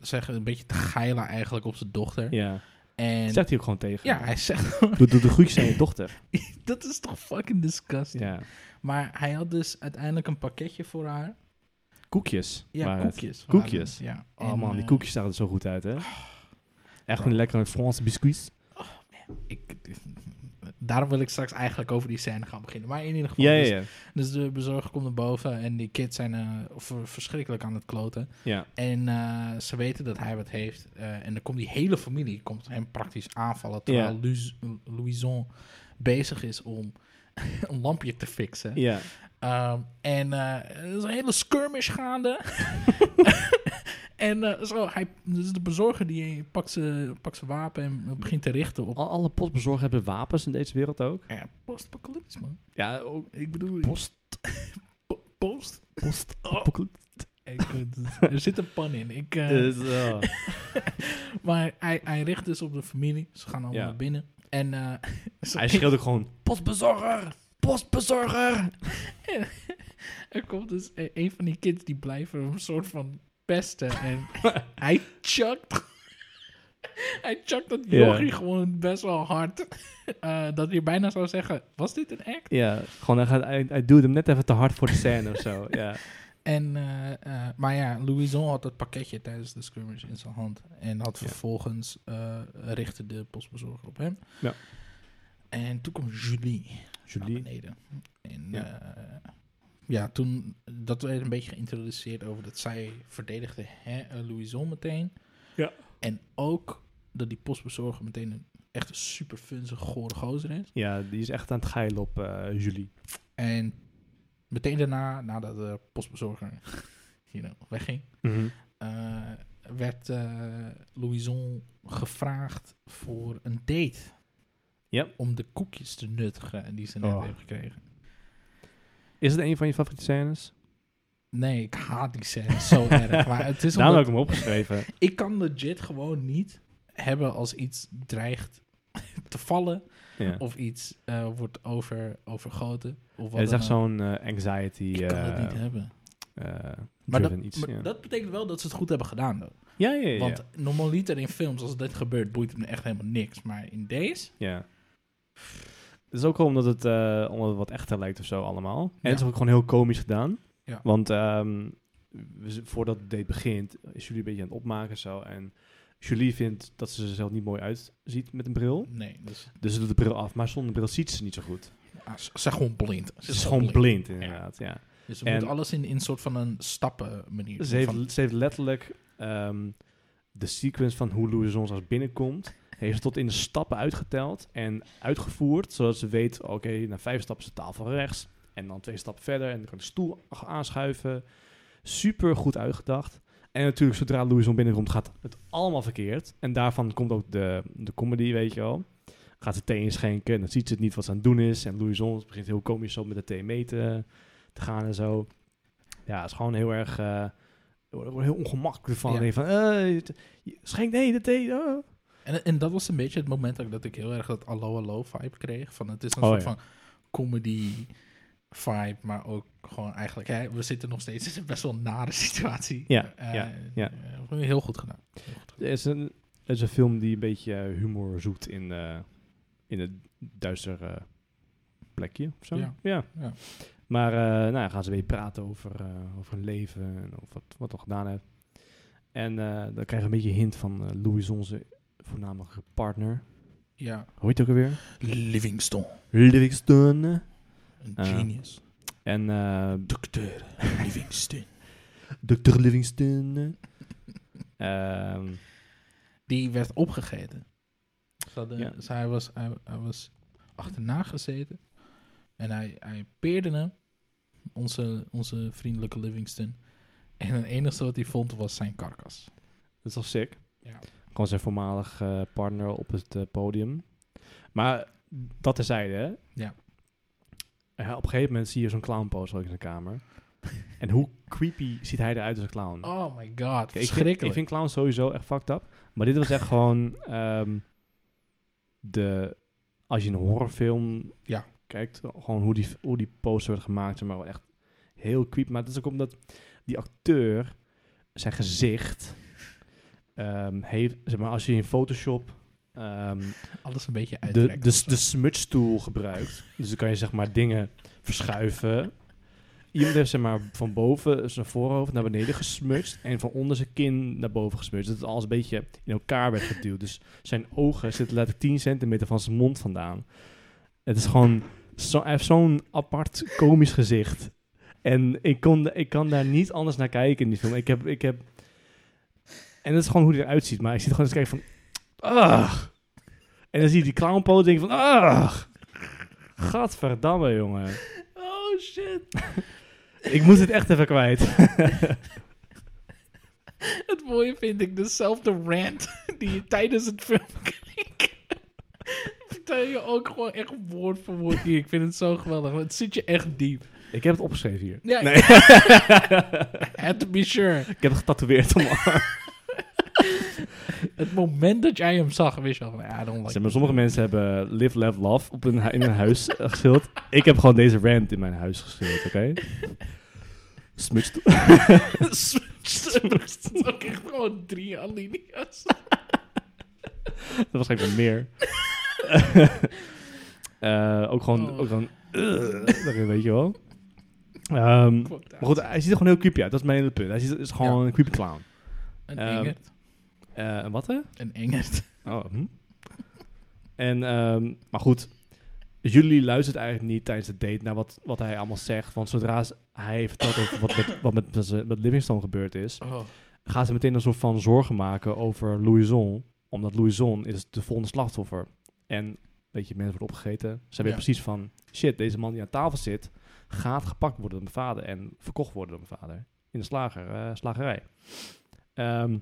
zeggen, een beetje te geilen eigenlijk op zijn dochter. Ja. En Zegt hij ook gewoon tegen. ja, hij zegt, Doe, doe de groetjes aan je dochter. dat is toch fucking disgusting. Ja. Maar hij had dus uiteindelijk een pakketje voor haar. Koekjes. Ja, waren het. koekjes. koekjes. waren het, Ja. Oh En, man, die eh, Oh. koekjes zagen er zo goed uit, hè? Echt Ja. een lekkere Franse biscuits. Ik, daarom wil ik straks eigenlijk over die scène gaan beginnen. Maar in ieder geval. Ja, dus, ja, ja. dus de bezorger komt naar boven en die kids zijn eh, ver- verschrikkelijk aan het kloten. ja. En eh, ze weten dat hij wat heeft. eh, en dan komt die hele familie komt hem praktisch aanvallen. Terwijl Ja. Luis- Louison bezig is om een lampje te fixen. ja. Ehm, en eh, er is een hele skirmish gaande. en eh, zo, hij, dus de bezorger die pakt zijn pakt z'n wapen en begint te richten op. Al- Alle postbezorgers hebben wapens in deze wereld ook. Ja, post-apocalypse, man. Ja, ook Ik bedoel, post. po- post. Post. Oh, ik, het- er zit een pan in. Ik, eh, Dus, eh, maar hij, hij richt dus op de familie. Ze gaan allemaal Ja. naar binnen. En eh, ze- hij schreeuwt ook gewoon Postbezorger! Postbezorger! er komt dus eh, een van die kids die blijven een soort van pesten. En hij chuckt. hij chuckt dat Ja. jochie gewoon best wel hard. Eh, dat je bijna zou zeggen: was dit een act? Ja, gewoon hij, gaat, hij, hij duwt hem net even te hard voor de scène of zo. Ja, En, eh, eh, maar ja, Louison had dat pakketje tijdens de scrimmage in zijn hand. En had Ja. vervolgens eh, richtte de postbezorger op hem. Ja. En toen kwam Julie. naar Julie. beneden. En Ja. ja. ja, toen dat werd een beetje geïntroduceerd over dat zij verdedigde hè, eh, Louison meteen. Ja. En ook dat die postbezorger meteen een echt een super funzige, gore gozer is. Ja, die is echt aan het geilen op eh, Julie. En meteen daarna, nadat de postbezorger you know, wegging, eh, werd eh, Louison gevraagd voor een date. Yep. Om de koekjes te nuttigen die ze net Oh. heeft gekregen. Is het een van je favoriete scènes? Nee, ik haat die scène zo erg. Maar het is Daarom omdat heb ik hem opgeschreven. ik kan legit gewoon niet hebben als iets dreigt te vallen ja. of iets eh, wordt over, overgoten. Of Het wat is dan echt ook. zo'n eh, anxiety. Ik kan het eh, niet hebben. eh Maar, dat, driven iets. maar ja. dat betekent wel dat ze het goed hebben gedaan. Though. ja, ja, ja. Want normaliter in films, als dit gebeurt, boeit het me echt helemaal niks. Maar in deze... ja. Het is ook wel omdat het, eh, omdat het wat echter lijkt of zo allemaal. En Ja. het is ook gewoon heel komisch gedaan. Ja. Want ehm, we z- voordat het date begint, is Julie een beetje aan het opmaken zo. En Julie vindt dat ze er zelf niet mooi uitziet met een bril. Nee, dus, Dus ze doet de bril af, maar zonder bril ziet ze niet zo goed. ah, ze ze is gewoon blind. Ze is gewoon blind, inderdaad. Ja. Dus ze En- moet alles in in een soort van een stappen manier. Ze, heeft, van, ze heeft letterlijk ehm, de sequence van hoe Louis Zonzags binnenkomt, heeft ze tot in de stappen uitgeteld en uitgevoerd, zodat ze weet, oké, na vijf stappen is de tafel rechts en dan twee stappen verder en dan kan ik de stoel a- aanschuiven. Super goed uitgedacht. En natuurlijk, zodra Louis Zon binnenkomt, gaat het allemaal verkeerd. En daarvan komt ook de, de comedy, weet je wel. Gaat ze thee inschenken en dan ziet ze het niet wat ze aan het doen is. En Louis Zon begint heel komisch zo met de thee mee te, te gaan en zo. Ja, het is gewoon heel erg... eh, ik word ik word heel ongemakkelijk van. Ja. Nee, van eh, het- je- schenk nee, de thee. oh. en, en dat was een beetje het moment ook dat ik heel erg dat allo allo vibe kreeg. Van het is een Oh, soort ja. van comedy vibe, maar ook gewoon eigenlijk... Hè, we zitten nog steeds in een best wel nare situatie. Ja, Eh, ja, ja. eh, heel goed gedaan. Het is een, het is een film die een beetje eh, humor zoekt in, eh, in het duistere plekje of zo. Ja. Ja. Maar eh, nou, ja, gaan ze weer praten over, eh, over hun leven en over wat, wat we gedaan hebben. En eh, dan krijg je een beetje hint van eh, Louis, onze voornamelijke partner. Ja. Hoe heet het ook alweer? Livingston, Livingston. een Ja. genius. En eh, Docteur Livingston. Dr. Livingston. Ehm, Die werd opgegeten. Dus Ze hadden- Ja. ze- hij, was, hij, hij was achterna gezeten. En hij, hij peerde hem. Onze, onze vriendelijke Livingston. En het enige wat hij vond was zijn karkas. dat is wel sick. Ja. Gewoon zijn voormalig eh, partner op het eh, podium. Maar dat terzijde, hè? Ja. Eh, op een gegeven moment zie je zo'n clownposter ook in zijn kamer. en hoe creepy ziet hij eruit als een clown? Oh my god, Kijk, ik, vind, verschrikkelijk. ik vind clowns sowieso echt fucked up. Maar dit was echt gewoon... ehm, de, als je een horrorfilm Ja. kijkt, gewoon hoe die, hoe die poster werd gemaakt. zeg Maar wel echt heel creepy. Maar het is ook omdat die acteur, zijn gezicht... ehm, heeft, zeg maar, als je in Photoshop... ehm, Alles een beetje de, dus- uittrekken. de, de smudge-tool gebruikt. Dus dan kan je zeg maar dingen verschuiven. Iemand heeft zeg maar van boven zijn voorhoofd naar beneden gesmudged en van onder zijn kin naar boven gesmudged. Dat het alles een beetje in elkaar werd geduwd. Dus zijn ogen zitten letterlijk 10 centimeter van zijn mond vandaan. Het is gewoon, zo, hij heeft zo'n apart komisch gezicht. En ik, kon, ik kan daar niet anders naar kijken in die film. Ik heb, ik heb, en dat is gewoon hoe hij eruit ziet. Maar ik zit gewoon eens kijken van, ah. En dan zie je die clownpoot en denk ik van, ah. Gadverdamme, jongen. Oh shit. Ik moet het echt even kwijt. Het mooie vind ik dezelfde rant die je tijdens het film kreeg. Vertel je ook gewoon echt woord voor woord hier. Ik vind het zo geweldig. want Het zit je echt diep. Ik heb het opgeschreven hier. Ja, had to be sure. Ik heb het getatoeëerd om Het moment dat jij hem zag, wist je al van, ja, I don't like Zeg maar, sommige mensen hebben Live, Love, Love op hun hu- in hun huis eh, geschilderd. Ik heb gewoon deze rant in mijn huis geschilderd, oké? Smuts. Het is ook echt gewoon drie alinea's. Dat was even meer. Eh, ook gewoon... Oh. Ook gewoon eh, daarin, weet je wel. Ehm, maar goed, hij ziet er gewoon heel creepy uit. Dat is mijn hele punt. Hij ziet, is gewoon een creepy clown. Een Ehm, engert. Eh, en wat, hè? Een engert. Oh, hm. En, ehm, maar goed, jullie luistert eigenlijk niet tijdens het date naar wat, wat hij allemaal zegt. Want zodra ze- hij vertelt over wat met, wat met, met, met Livingstone gebeurd is, Oh, gaat ze meteen een soort van zorgen maken over Louison. Omdat Louison is de volgende slachtoffer. En, weet je, mensen worden opgegeten. Ze weet Ja. precies van, shit, deze man die aan tafel zit, gaat gepakt worden door mijn vader en verkocht worden door mijn vader. In de slager, eh, slagerij. Ehm,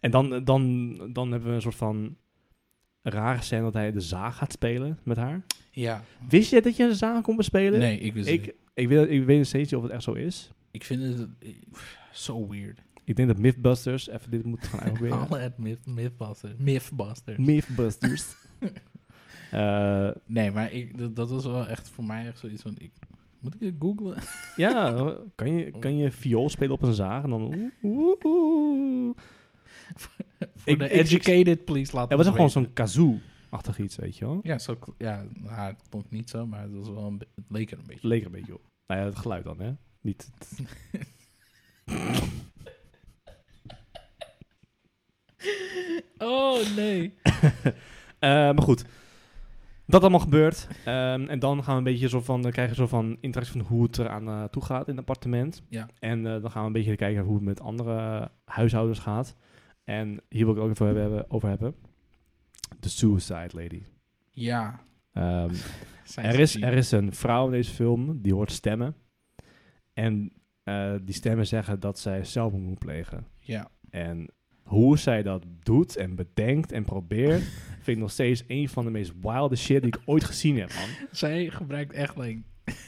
en dan, dan, dan hebben we een soort van rare scène dat hij de zaag gaat spelen met haar. ja. Wist je dat je een zaag kon bespelen? Nee, ik wist het niet. Ik, ik, weet, ik weet nog steeds niet of het echt zo is. Ik vind het eh, zo weird. Ik denk dat Mythbusters even dit moet gaan uitproberen. Alle het myth, mythbusters. Mythbusters. Mythbusters. Eh, Nee, maar ik, dat, dat was wel echt voor mij echt zoiets van... Ik, Moet ik dit googlen? Ja, hoor. kan je, kan je viool spelen op een zaag en dan... oeh, oeh, oeh. Voor Ik- de ik- educated, please, laat Er was ook gewoon zo'n kazoo-achtig iets, weet je wel. Ja, zo, kl- ja nou, het klonk niet zo, maar het, was wel een be- het leek er een beetje. Het leek er een beetje op. Nou ja, het geluid dan, hè? Niet. Oh, nee. Eh, maar goed. Dat allemaal gebeurt. Ehm, en dan gaan we een beetje zo van, dan krijgen we zo van interactie van hoe het eraan eh, toe gaat in het appartement. Ja. En eh, dan gaan we een beetje kijken hoe het met andere huishoudens gaat. En hier wil ik het ook even hebben- hebben- over hebben. De Suicide Lady. Ja. Ehm, zijn er, ze is, die- er is een vrouw in deze film die hoort stemmen. En eh, die stemmen zeggen dat zij zelfmoord moet plegen. Ja. En hoe zij dat doet en bedenkt en probeert, vind ik nog steeds een van de meest wilde shit die ik ooit gezien heb, man. Zij gebruikt echt, like...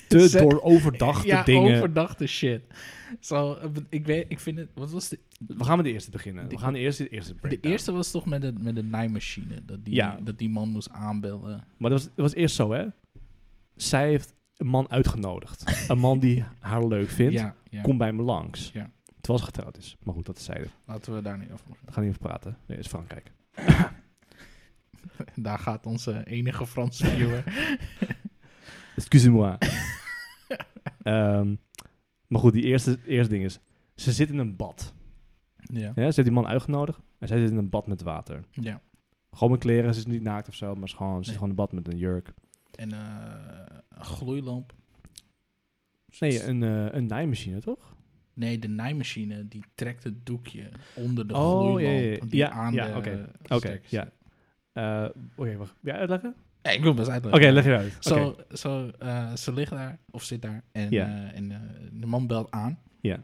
Te Ze- door overdachte ja, dingen. overdachte shit. Zo, eh, ik, weet, ik vind het... Wat was de, We gaan met de eerste beginnen. De- We gaan eerst de eerste de breakdown. eerste was toch met de, met de naaimachine. Dat die, Ja. dat die man moest aanbellen. Maar dat was, dat was eerst zo, hè. Zij heeft een man uitgenodigd. een man die haar leuk vindt. Ja, ja. Kom bij me langs. Ja. Terwijl ze getrouwd is. Maar goed, dat is zijde. Laten we daar niet over We gaan niet over praten. Nee, het is Frankrijk. Daar gaat onze enige Franse viewer. Excusez-moi. Ehm, maar goed, die eerste, eerste ding is... Ze zit in een bad. ja. Ja, ze heeft die man uitgenodigd en zij zit in een bad met water. ja. Gewoon met kleren, ze is niet naakt of zo, maar ze, is gewoon, ze Nee. zit gewoon in een bad met een jurk. En eh, een gloeilamp. Nee, een, eh, een naaimachine, toch? Nee, de naaimachine die trekt het doekje onder de Oh, gloeilamp. ja, ja, ja. Die Ja, aan ja, de oké. eh, Oké, stekker ja. zit. Eh, Oké, wacht. Wil jij uitleggen? Eh, Oké, Nee, ik wil best uitleggen. leg je uit. Oké. Zo, zo, eh, ze ligt daar, of zit daar, en, Ja. eh, en eh, de man belt aan. Ja.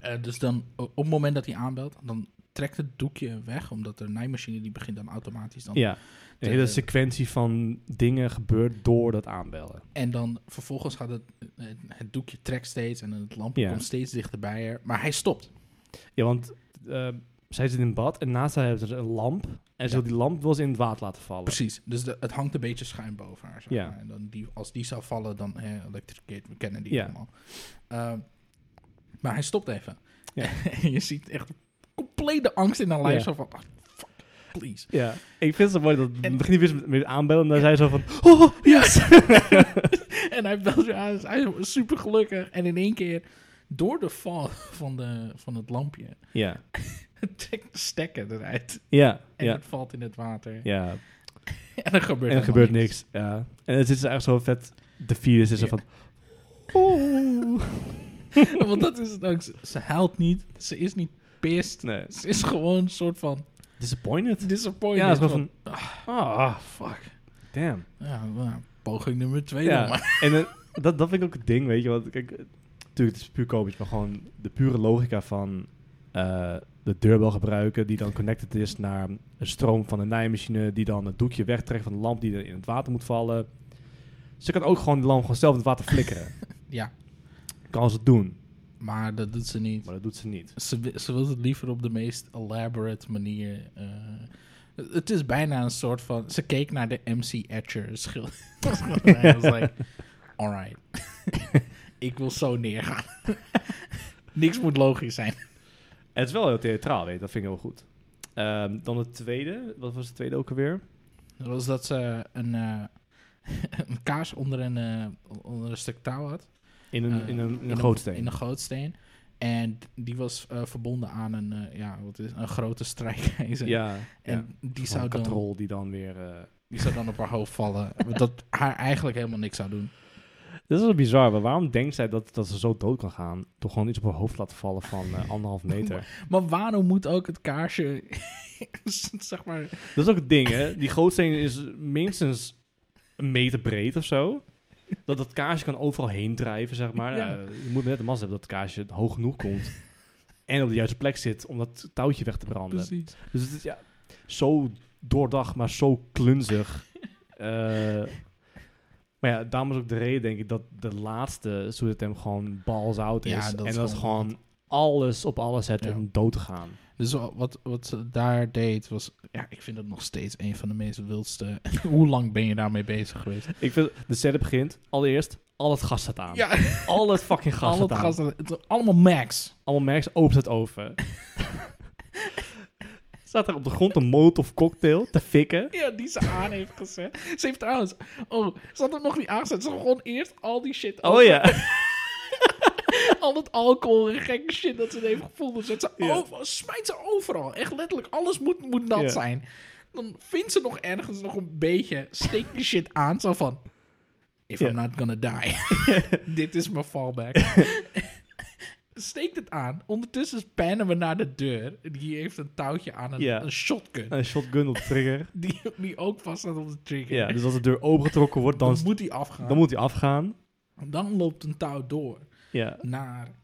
Eh, dus dan, o- op het moment dat hij aanbelt, dan trekt het doekje weg, omdat de naaimachine die begint dan automatisch dan. Ja, een hele Eh, sequentie van dingen gebeurt door dat aanbellen. En dan vervolgens gaat het, het, het doekje trekt steeds en het lampje Ja. komt steeds dichterbij er, maar hij stopt. Ja, want eh, zij zit in een bad en naast haar heeft ze een lamp. En ze Ja. wil die lamp wil ze in het water laten vallen. Precies, dus de- het hangt een beetje schuin boven haar. Zeg Ja. maar. en dan die, als die zou vallen, dan eh, electrocuteert, we kennen die Ja. allemaal. Ehm, maar hij stopt even. Ja. en je ziet echt complete angst in haar lijf. Ja. Zo van, ah, fuck, please. Ja, ik vind het zo mooi dat En- het begint weer met, met aanbellen en dan zei ze van... Oh, yes! en hij belt weer aan, dus hij is super gelukkig. En in één keer, door de val van, de, van het lampje, Ja, trekt de stekker eruit. ja, En ja, het valt in het water. ja. En er gebeurt, En er helemaal gebeurt niks. Ja. En het is dus echt zo vet. De virus is er Ja. van. "Oh." Oeh. Want dat is het ook. Ze, ze huilt niet. Ze is niet pissed. Nee. Ze is gewoon een soort van Disappointed. disappointed. Ja, het is van, gewoon van. Ah, fuck. damn. Ja, nou, poging nummer twee dan Ja. maar. En eh, dat, dat vind ik ook het ding, weet je. Want kijk, eh, natuurlijk, het is puur komisch, maar gewoon de pure logica van eh, de deurbel gebruiken, die dan connected is naar een stroom van een naaimachine, die dan het doekje wegtrekt van de lamp die er in het water moet vallen. Ze kan ook gewoon de lamp gewoon zelf in het water flikkeren. Ja, kan ze het doen, maar dat doet ze niet. maar dat doet ze niet. Ze, wi- ze wil het liever op de meest elaborate manier. eh. het is bijna een soort van... Ze keek naar de MC Etcher schil- schilderij. en was like, alright. Ik wil zo neergaan. Niks moet logisch zijn. Het is wel heel theatraal, weet je, dat vind ik heel goed. Ehm, dan het tweede, wat was het tweede ook alweer? Dat was dat ze een, eh, een kaars onder een, eh, onder een stuk touw had. In een, Eh, in een, in een gootsteen. In een gootsteen. En die was eh, verbonden aan een, eh, ja, wat is, het, een grote strijkijzer. ja, ja. En die, zou een dan, katrol die dan weer... eh, die zou dan op haar hoofd vallen. dat haar eigenlijk helemaal niks zou doen. Dat is wel bizar, maar waarom denkt zij dat, dat ze zo dood kan gaan? Door gewoon iets op haar hoofd te laten vallen van eh, anderhalf meter. Maar waarom moet ook het kaarsje... zeg maar... dat is ook het ding, hè? Die gootsteen is minstens een meter breed of zo. Dat dat kaarsje kan overal heen drijven, zeg maar. Ja. Eh, je moet net de massa hebben dat het kaarsje hoog genoeg komt. en op de juiste plek zit om dat touwtje weg te branden. Precies. Dus het is ja, zo doordacht, maar zo klunzig. Eh, maar ja, daarom is ook de reden, denk ik, dat de laatste Suicide hem gewoon balls out is. Ja, dat en is dat is gewoon- gewoon alles op alles zetten Ja. om dood te gaan. Dus wa- wat, wat ze daar deed was... Ja, ik vind dat nog steeds een van de meest wildste... Hoe lang ben je daarmee bezig geweest? Ik vind, de setup begint allereerst Al het gas staat aan. Ja, Al het fucking gas al staat het aan. gas. Het is allemaal max. Allemaal merks opent het oven. Staat er op de grond een molotov cocktail te fikken. Ja, die ze aan heeft gezet. Ze heeft trouwens... Oh, ze had hem nog niet aangezet. Ze begon eerst al die shit Oh ja. Al dat alcohol en gekke shit dat ze het heeft gevoeld. Zet ze Ja. over, smijt ze overal. Echt letterlijk, alles moet, moet nat Ja. zijn. Dan vindt ze nog ergens nog een beetje. Steekt die shit aan. Zo van... If Ja. I'm not gonna die. Dit is mijn fallback. Steekt het aan. Ondertussen spannen we naar de deur. Die heeft een touwtje aan een, Ja. een shotgun. Een shotgun op de trigger. Die, die ook vast staat op de trigger. Ja, dus als de deur opengetrokken wordt, dan, Dan moet die afgaan. dan moet hij afgaan. Dan loopt een touw door Ja. naar...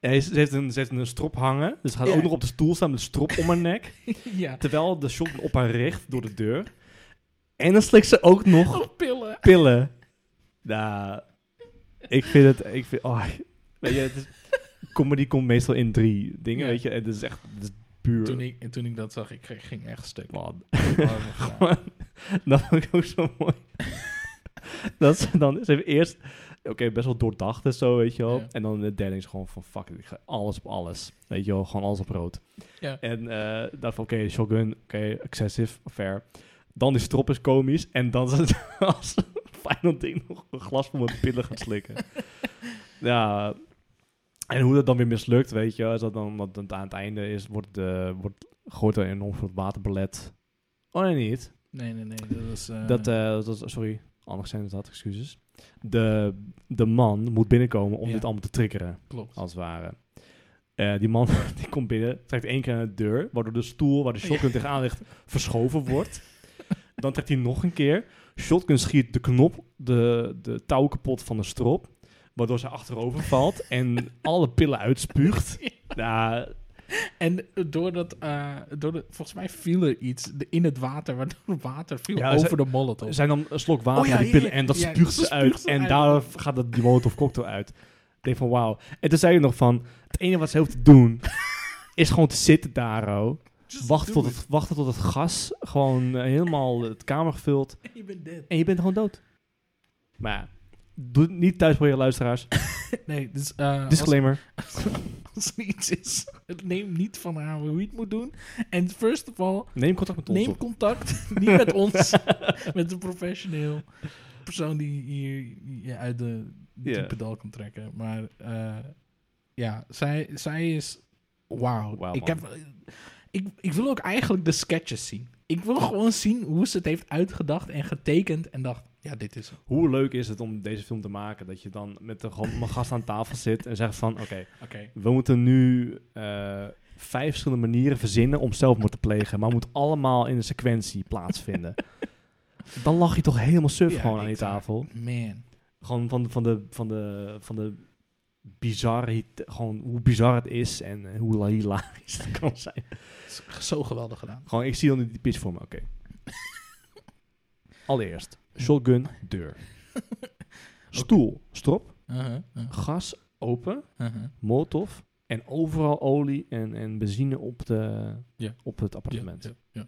Hij is- ze, heeft een, ze heeft een strop hangen. Dus ze gaat Ja. ook nog op de stoel staan met een strop om haar nek. ja, Terwijl de shotgun op haar richt door de deur. En dan slikt ze ook nog oh, pillen. pillen. Nou, ik vind het... Ik vind, oh, weet je, het is, comedy komt meestal in drie dingen, Ja. weet je. En dit is echt dit is puur... Toen ik, en toen ik dat zag, ik ging- ging echt stuk. Oh, Man, Ja. dat vond ik ook zo mooi. dat ze dan ze heeft eerst... Oké, best wel doordacht en zo, weet je wel. Ja. En dan de derde is gewoon van... Fuck it, ik ga alles op alles. Weet je wel, gewoon alles op rood. Ja. En eh dacht van, oké, shotgun, oké, excessive, fair. Dan die strop is komisch. En dan is het als final ding nog een glas van mijn pillen gaan slikken. ja, en hoe dat dan weer mislukt, weet je. Is dat dan, want het aan het einde is, wordt, de, wordt gooit er enorm veel water belet. Oh nee, niet. Nee, nee, nee. Dat was... eh, Dat, eh, dat, was- sorry, anders zijn het dat, excuses. De, de man moet binnenkomen om Ja. dit allemaal te triggeren, klopt. als het ware. Eh, die man die komt binnen, trekt één keer aan de deur, waardoor de stoel waar de shotgun tegenaan ligt verschoven wordt. Dan trekt hij nog een keer. Shotgun schiet de knop, de, de touw kapot van de strop, waardoor ze achterover valt en alle pillen uitspuugt. Nou, En doordat... eh doordat volgens mij viel er iets de- in het water. Waardoor water viel Ja, over ze- de molotov. zijn dan een slok water Oh ja, in die ja, pillen ja, en dat ja, spuugt dat ze uit. spuugt ze En uit. daar gaat dat die molotov cocktail uit. Ik denk van wauw. En toen zei je nog van, het enige wat ze hoeft te doen, is gewoon te zitten daar, oh. Just Wachten do tot, het, wachten tot het gas gewoon eh, helemaal het kamer gevuld. it. Je bent dead. En je bent gewoon dood. Maar ja, doe het niet thuis voor je luisteraars. Nee, dus... eh als, Disclaimer. als er iets is, neem niet van haar hoe je het moet doen. En first of all, Neem contact met ons neem op. contact. niet met ons. met een professioneel persoon die hier je uit de diepe Ja. dal kan trekken. Maar eh, ja, zij, zij is... Wauw. Wauw, ik, man. heb, ik, ik wil ook eigenlijk de sketches zien. Ik wil gewoon zien hoe ze het heeft uitgedacht en getekend en dacht, ja, dit is hem. Hoe leuk is het om deze film te maken? Dat je dan met de gewoon mijn gast aan tafel zit en zegt van, oké, Oké. We moeten nu eh, vijf verschillende manieren verzinnen om zelfmoord te plegen. Maar het moet allemaal in een sequentie plaatsvinden. Dan lag je toch helemaal suf Ja, gewoon aan die echt waar. tafel. Man. Gewoon van, van de, van de, van de bizarre, gewoon hoe bizar het is en eh, hoe hilarisch het kan zijn. Zo geweldig gedaan. Gewoon, ik zie dan die pitch voor me, oké. Allereerst, shotgun, deur. Stoel, strop, Uh-huh, uh-huh, gas, open. uh-huh. molotov en overal olie en, en benzine op, de, Ja. op het appartement. Ja,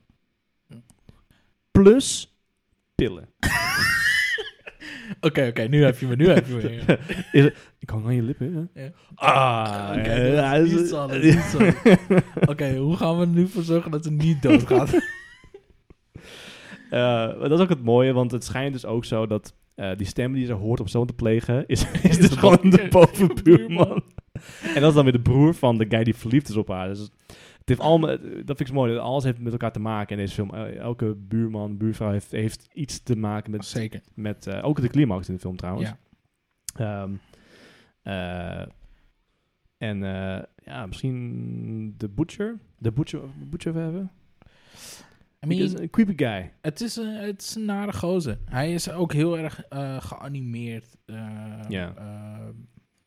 ja, Plus pillen. ja. Oké, oké, nu heb je me, nu heb je me. Ja. Ik hang aan je lippen. Hè? Ja. Ah, Oké, eh, dat hij is is- niet zo, dat is niet zo. Oké, hoe gaan we er nu voor zorgen dat ze niet doodgaat? Eh, maar dat is ook het mooie, want het schijnt dus ook zo dat eh, die stem die ze hoort om zo te plegen, is, is, dus de gewoon de bo- bovenbuurman. en dat is dan weer de broer van de guy die verliefd is op haar. Dus het heeft allemaal, eh, dat vind ik zo mooi, dat alles heeft met elkaar te maken in deze film. Eh, Elke buurman, buurvrouw heeft, heeft iets te maken met Zeker. Met, eh, ook de climax in de film trouwens. Ja. Ehm, eh, en eh, ja, misschien The Butcher. The Butcher, Butcher we hebben. I Die is mean, een creepy guy. het, is een, het is een nare gozer. Hij is ook heel erg eh, geanimeerd. eh, Ja. eh,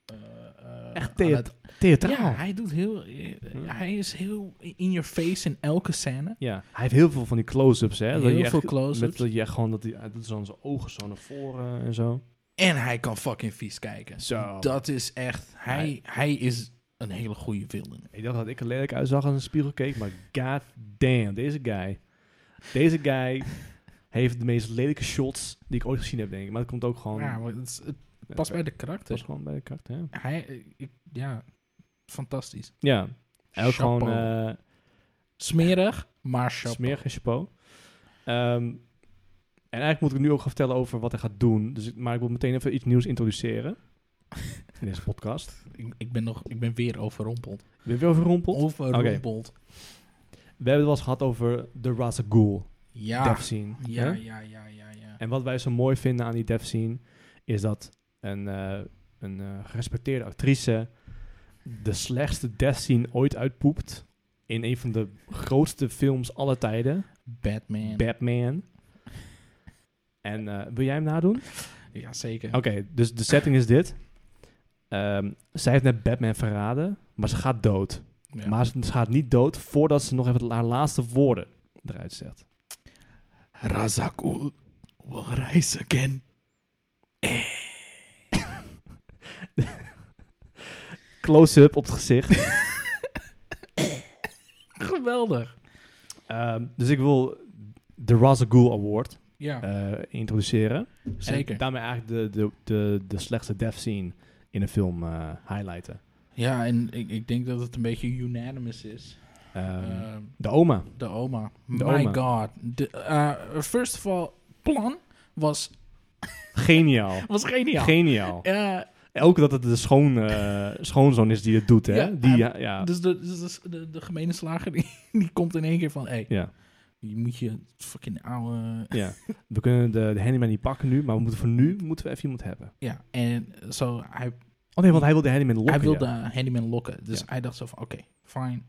eh, eh, Echt aan thea- het- Theatraal. Hm. Ja, Ja, hij doet heel... eh, Hij is heel in your face in elke scène. hij heeft heel veel van die close-ups. hè. Dat Heel je echt- veel close-ups. Met dat je echt gewoon dat hij hij doet zo aan zijn ogen zo naar voren en zo. En hij kan fucking vies kijken. Zo. Dat is echt... Hij, hij is een hele goede villain. Ik dacht dat ik er lelijk uitzag als een spiegel keek, maar god damn, deze guy. Deze guy heeft de meest lelijke shots die ik ooit gezien heb, denk ik. Maar dat komt ook gewoon... eh, Ja, maar het, is- het- Pas bij de karakter. was gewoon bij de karakter, ja. Hij, eh, ik- ja, fantastisch. Ja. En ook Chapeau. gewoon eh Smerig, maar chapeau. smerig en chapeau. Ehm, en eigenlijk moet ik nu ook gaan vertellen over wat hij gaat doen. Dus ik, maar ik wil meteen even iets nieuws introduceren. In deze podcast. Ik, ik, ben nog, ik ben weer overrompeld. Ik ben weer verrompeld. Oh. Overrompeld. We hebben het wel eens gehad over de Razagul Ja. death scene. Ah, Ja, hè? ja, ja, ja, ja. En wat wij zo mooi vinden aan die death scene... is dat een, eh, een eh, gerespecteerde actrice... de slechtste death scene ooit uitpoept... in een van de grootste films aller tijden. Batman. Batman. En eh, wil jij hem nadoen? ja, zeker. Oké, dus de setting is dit. Ehm, zij heeft net Batman verraden, maar ze gaat dood. Ja. Maar ze, ze gaat niet dood voordat ze nog even haar laatste woorden eruit zegt. Razakul will rise again. Close-up op het gezicht. Geweldig. Ehm, dus ik wil de Razagul Award Ja, eh, introduceren. zeker. En daarmee eigenlijk de, de, de, de slechtste death scene in een film eh, highlighten. Ja, en ik, ik denk dat het een beetje unanimous is. Ehm, Ehm, de oma. de oma. de My oma. god. De, eh, first of all, plan was, Geniaal. was geniaal. Geniaal. Eh, Ook dat het de schoon, eh, schoonzoon is die het doet, hè? Ja, die, ja, hij- ja, dus de, dus de, de, de gemene slager die, die komt in één keer van: hé, hey, ja, je moet je fucking oude. ja. We kunnen de, de handyman niet pakken nu, maar we moeten voor nu moeten we even iemand hebben. Ja, en zo, hij Oh nee, want hij wil de handyman lokken. hij wilde ja. eh, Handyman lokken. Dus Ja. hij dacht zo van, oké, fijn.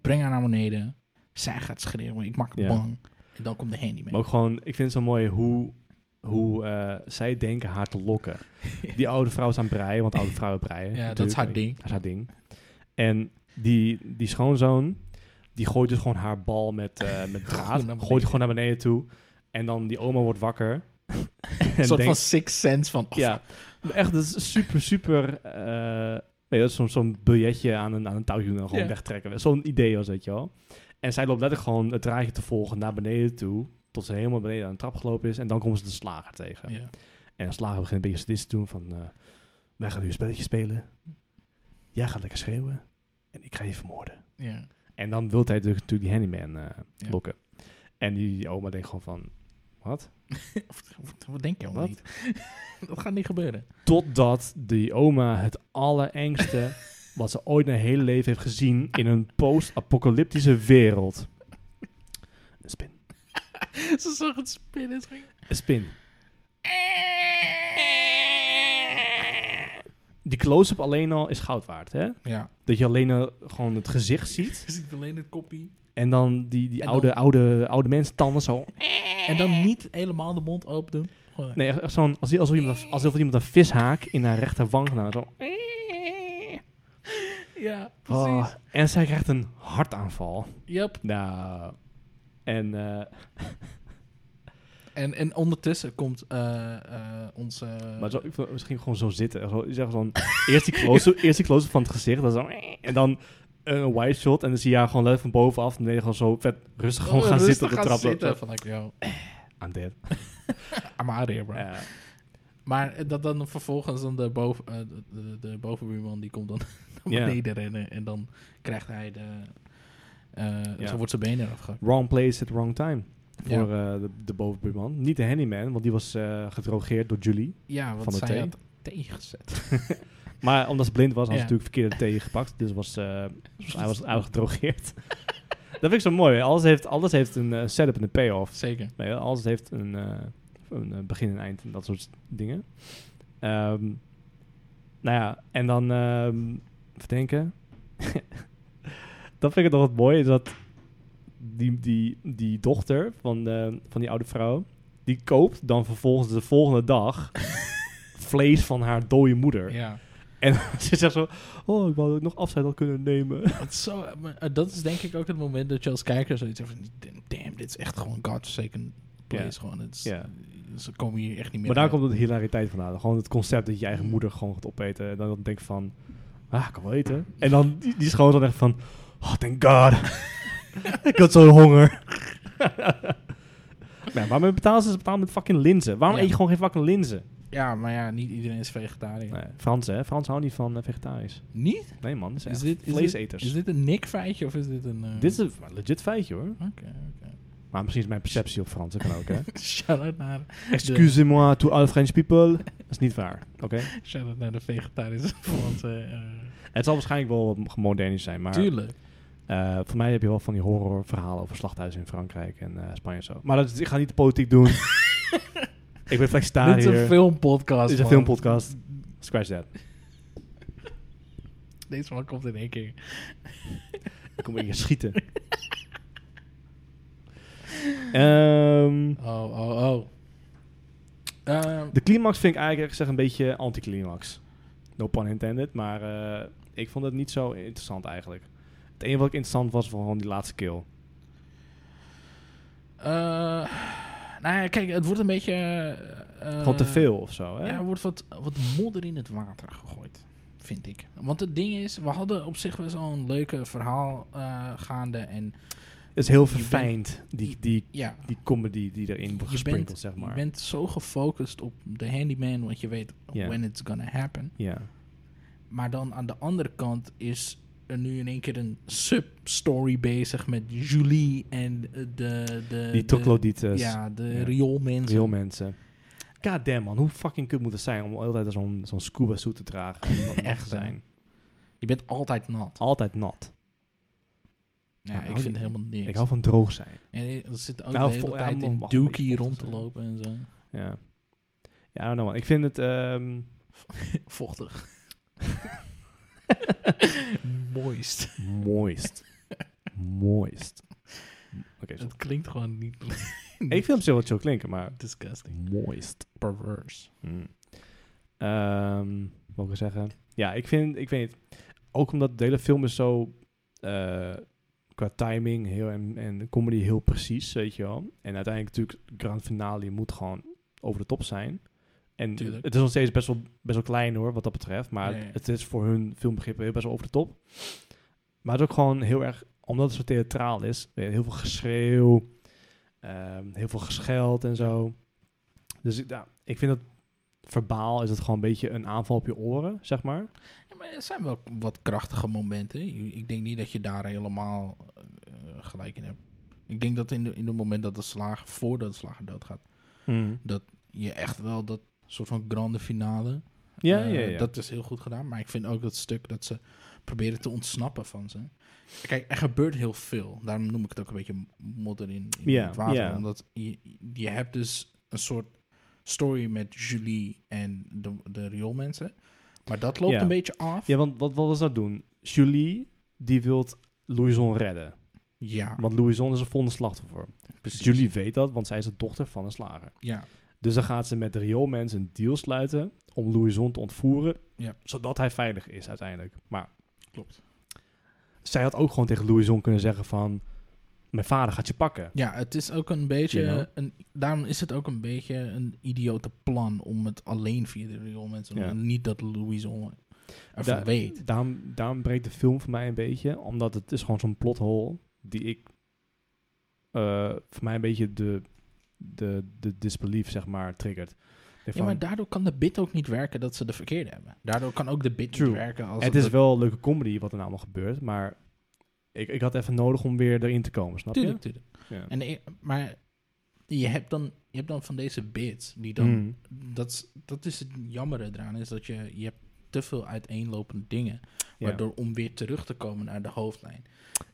Breng haar naar beneden. Zij gaat schreeuwen, ik maak hem Ja. bang. En dan komt de Handyman. Maar ook gewoon, ik vind het zo mooi hoe, hoe eh, zij denken haar te lokken. Die oude vrouw is aan het breien, want oude vrouwen breien. Ja, dat natuurlijk. is haar ding. Dat is haar ding. En die, die schoonzoon, die gooit dus gewoon haar bal met, eh, met draad. naar gooit gewoon naar beneden toe. En dan die oma wordt wakker. Een en soort denkt- van six sense van, oh, Ja, echt, dat is super, super... eh, nee, dat is zo'n zo'n biljetje aan een, aan een touwtje doen en gewoon Ja. wegtrekken. Zo'n idee was dat, joh. En zij loopt letterlijk gewoon het draadje te volgen naar beneden toe. Tot ze helemaal beneden aan de trap gelopen is. En dan komen ze de slager tegen. ja. En de slager begint een beetje sadistisch te doen van... eh, wij gaan nu een spelletje spelen. Jij gaat lekker schreeuwen. En ik ga je vermoorden. ja. En dan wil hij dus natuurlijk die handyman eh, Ja. lokken. En die, die oma denkt gewoon van... Wat? Wat- Wat denk je Wat? al niet? dat gaat niet gebeuren. Totdat die oma het allerengste wat ze ooit in haar hele leven heeft gezien in een post-apocalyptische wereld. Een spin. Ze zag het spinnen. ze ging- Een spin. Die close-up alleen al is goud waard, hè? Ja, Dat je alleen al gewoon het gezicht ziet. ze ziet alleen het kopje. En dan die, die En oude, dan- oude, oude mens-tanden zo. En dan niet helemaal de mond open doen. Gewoon- Nee, echt echt zo'n... Alsof, alsof, iemand, alsof iemand een vishaak in haar rechterwang gedaan heeft. Zo. Ja, precies. Oh, en zij krijgt een hartaanval. Yep. Nou... En... eh, En, en ondertussen komt eh, eh, onze... Maar zo, ik vond- misschien gewoon zo zitten. Zo, zeg zo'n, eerst die close-up eerst die close-up van het gezicht. Dan zo, en dan een wide shot. En dan zie je haar gewoon letterlijk van bovenaf. En dan gewoon zo vet rustig gewoon gaan Oh, Eh, Rustig zitten op de gaan trap. zitten. Van, like, yo, Aan dit. I'm out here, bro. Ja. Maar dat dan vervolgens dan de, boven, eh, de, de, de bovenbuurman die komt dan naar Ja. beneden rennen. En dan krijgt hij de... eh, Ja. Zo wordt zijn benen afgehakt. wrong place at wrong time. Ja. Voor eh, de, de bovenbuurman. Niet de handyman, want die was eh, gedrogeerd door Julie. Ja, want Van de zij thee? had thee gezet. Maar omdat ze blind was, had ze Ja. natuurlijk verkeerde thee gepakt. Dus was, eh, hij, was, hij was gedrogeerd. dat vind ik zo mooi. hè. Alles heeft, alles heeft een eh, setup en een payoff. Zeker. Nee, alles heeft een, eh, een eh, begin en eind en dat soort dingen. Ehm, nou ja, en dan ehm even denken. dat vind ik nog wat mooi, is dat die, die, die dochter van, de, van die oude vrouw, die koopt dan vervolgens de volgende dag vlees van haar dode moeder. Ja. En ze zegt zo, oh, ik wou dat ik nog afscheid had kunnen nemen. Want zo, maar, eh, dat is denk ik ook het moment dat je als kijker zoiets hebt van... Damn, dit is echt gewoon godforsaken place. Ja. Gewoon, het is, Ja. Ze komen hier echt niet meer Maar daar uit. komt de hilariteit vandaan. Gewoon het concept dat je je eigen moeder gewoon gaat opeten. En dan denk je van, ah, ik kan wel eten. En dan die, die is gewoon zo echt van, oh, thank god. ik had zo'n honger. maar ja, waarom betalen ze ze betalen met fucking linzen? Waarom Ja. eet je gewoon geen fucking linzen? Ja, maar ja, niet iedereen is vegetariër. Nee, Frans, hè? Frans houdt niet van eh, vegetarisch. Niet? Nee, man. Dat is Is echt dit, is, dit, vleeseters. is dit een Nick-feitje of is dit een... eh, Dit is een legit feitje, hoor. Oké, oké. Maar misschien is mijn perceptie op Frans. Dat kan ook, hè? Shout-out naar, Excusez-moi to all French people. Dat is niet waar, oké? shout naar de vegetarische Want, eh, eh, Het zal waarschijnlijk wel wat modernisch zijn, maar... Tuurlijk. eh, voor mij heb je wel van die horrorverhalen over slachthuizen in Frankrijk en eh, Spanje en zo. Maar dat, is- ik ga niet de politiek doen. ik ben flexitariër. Dit is een filmpodcast, Dit is een man. filmpodcast. Scratch that. Deze man komt in één keer. Kom in je schieten. Ehm, Oh, oh, oh. Ehm, de climax vind ik eigenlijk eerlijk gezegd een beetje anticlimax. No pun intended, maar eh, ik vond het niet zo interessant eigenlijk. Het enige wat ik interessant was, was gewoon die laatste kill. eh, nou ja, kijk, het wordt een beetje... eh, Gewoon te veel of zo, hè? Ja, er wordt wat, wat modder in het water gegooid, vind ik. Want het ding is, we hadden op zich wel zo'n leuke verhaal eh, gaande. En Het is heel bent- verfijnd, die, die, ja, die comedy die erin wordt je bent, gesprinkeld, zeg maar. je bent zo gefocust op de handyman, want je weet Ja. when it's gonna happen. Ja. Maar dan aan de andere kant is er nu in één keer een sub-story bezig met Julie en eh, de... de Die de, troglodytes, Ja, de Ja. rioolmensen. heel mensen. God damn man, hoe fucking kut moet het zijn om altijd zo'n zo'n scuba suit te dragen? en nat Echt, te hè? zijn. Je bent altijd nat. Altijd nat. Ja, Maar ah, ik hou vind die- helemaal niks. Ik hou van droog zijn. En eh, er zit ook Nou, de hele vol- ja, tijd mag- in mag een Dookie beetje rond te vochtig lopen en zo. Ja. Ja, I don't know, man. Ik vind het... ehm, vochtig. Moist. Moist. Moist. Oké, sorry. Het klinkt gewoon niet ik vind hem zo wat zo klinken, maar disgusting. moist. Perverse. Mm. Ehm, wat wil ik zeggen? Ja, ik vind, ik weet niet, ook omdat de hele film is zo eh, qua timing heel, en, en comedy heel precies, weet je wel. En uiteindelijk natuurlijk, grand finale moet gewoon over de top zijn. En Tuurlijk. het is nog steeds best wel, best wel klein hoor, wat dat betreft. Maar Ja, ja. het is voor hun filmbegrippen heel best wel over de top. Maar het is ook gewoon heel erg, omdat het zo theatraal is, weet je, heel veel geschreeuw, ehm, heel veel gescheld en zo. Dus ik- ja, ik vind dat verbaal is het gewoon een beetje een aanval op je oren, zeg maar. Ja, maar er zijn wel wat krachtige momenten. Ik- Ik denk niet dat je daar helemaal eh, gelijk in hebt. Ik denk dat in de, in de moment dat de slager, voordat de slager doodgaat, Hmm. je echt wel dat soort van grande finale. Ja, eh, ja, ja. Dat is heel goed gedaan. Maar ik vind ook dat stuk dat ze proberen te ontsnappen van ze. Kijk, er gebeurt heel veel. Daarom noem ik het ook een beetje modder in, in Ja, het water. ja. Omdat je, je hebt dus een soort story met Julie en de, de rioolmensen. Maar dat loopt Ja. een beetje af. Ja, want wat, wat was dat doen? Julie, die wil Louison redden. Ja, Want Louison is een volgende slachtoffer. precies. Julie weet dat, want zij is de dochter van een slager. Ja, Dus dan gaat ze met de rioolmensen een deal sluiten om Louison te ontvoeren, Ja. zodat hij veilig is uiteindelijk. Maar klopt. zij had ook gewoon tegen Louison kunnen zeggen van, mijn vader gaat je pakken. Ja, het is ook een beetje... You know? een, daarom is het ook een beetje een idiote plan om het alleen via de rioolmensen te doen. Ja. En Niet dat Louison ervan Da- weet. Daarom, daarom breekt de film voor mij een beetje, omdat het is gewoon zo'n plothole die ik eh, voor mij een beetje de, de, de disbelief, zeg maar, triggert. Ik Ja, van, maar daardoor kan de bit ook niet werken dat ze de verkeerde hebben. Daardoor kan ook de bit True. niet werken als het is wel een leuke comedy wat er nou allemaal gebeurt, maar ik, ik had even nodig om weer erin te komen, snap Tuurlijk, tuurlijk. je? Ja. En, ik- maar je hebt, dan, je hebt dan van deze bits die dan... Mm. Dat, is- dat is het jammere eraan, is dat je, je hebt te veel uiteenlopende dingen. Ja. Waardoor om weer terug te komen naar de hoofdlijn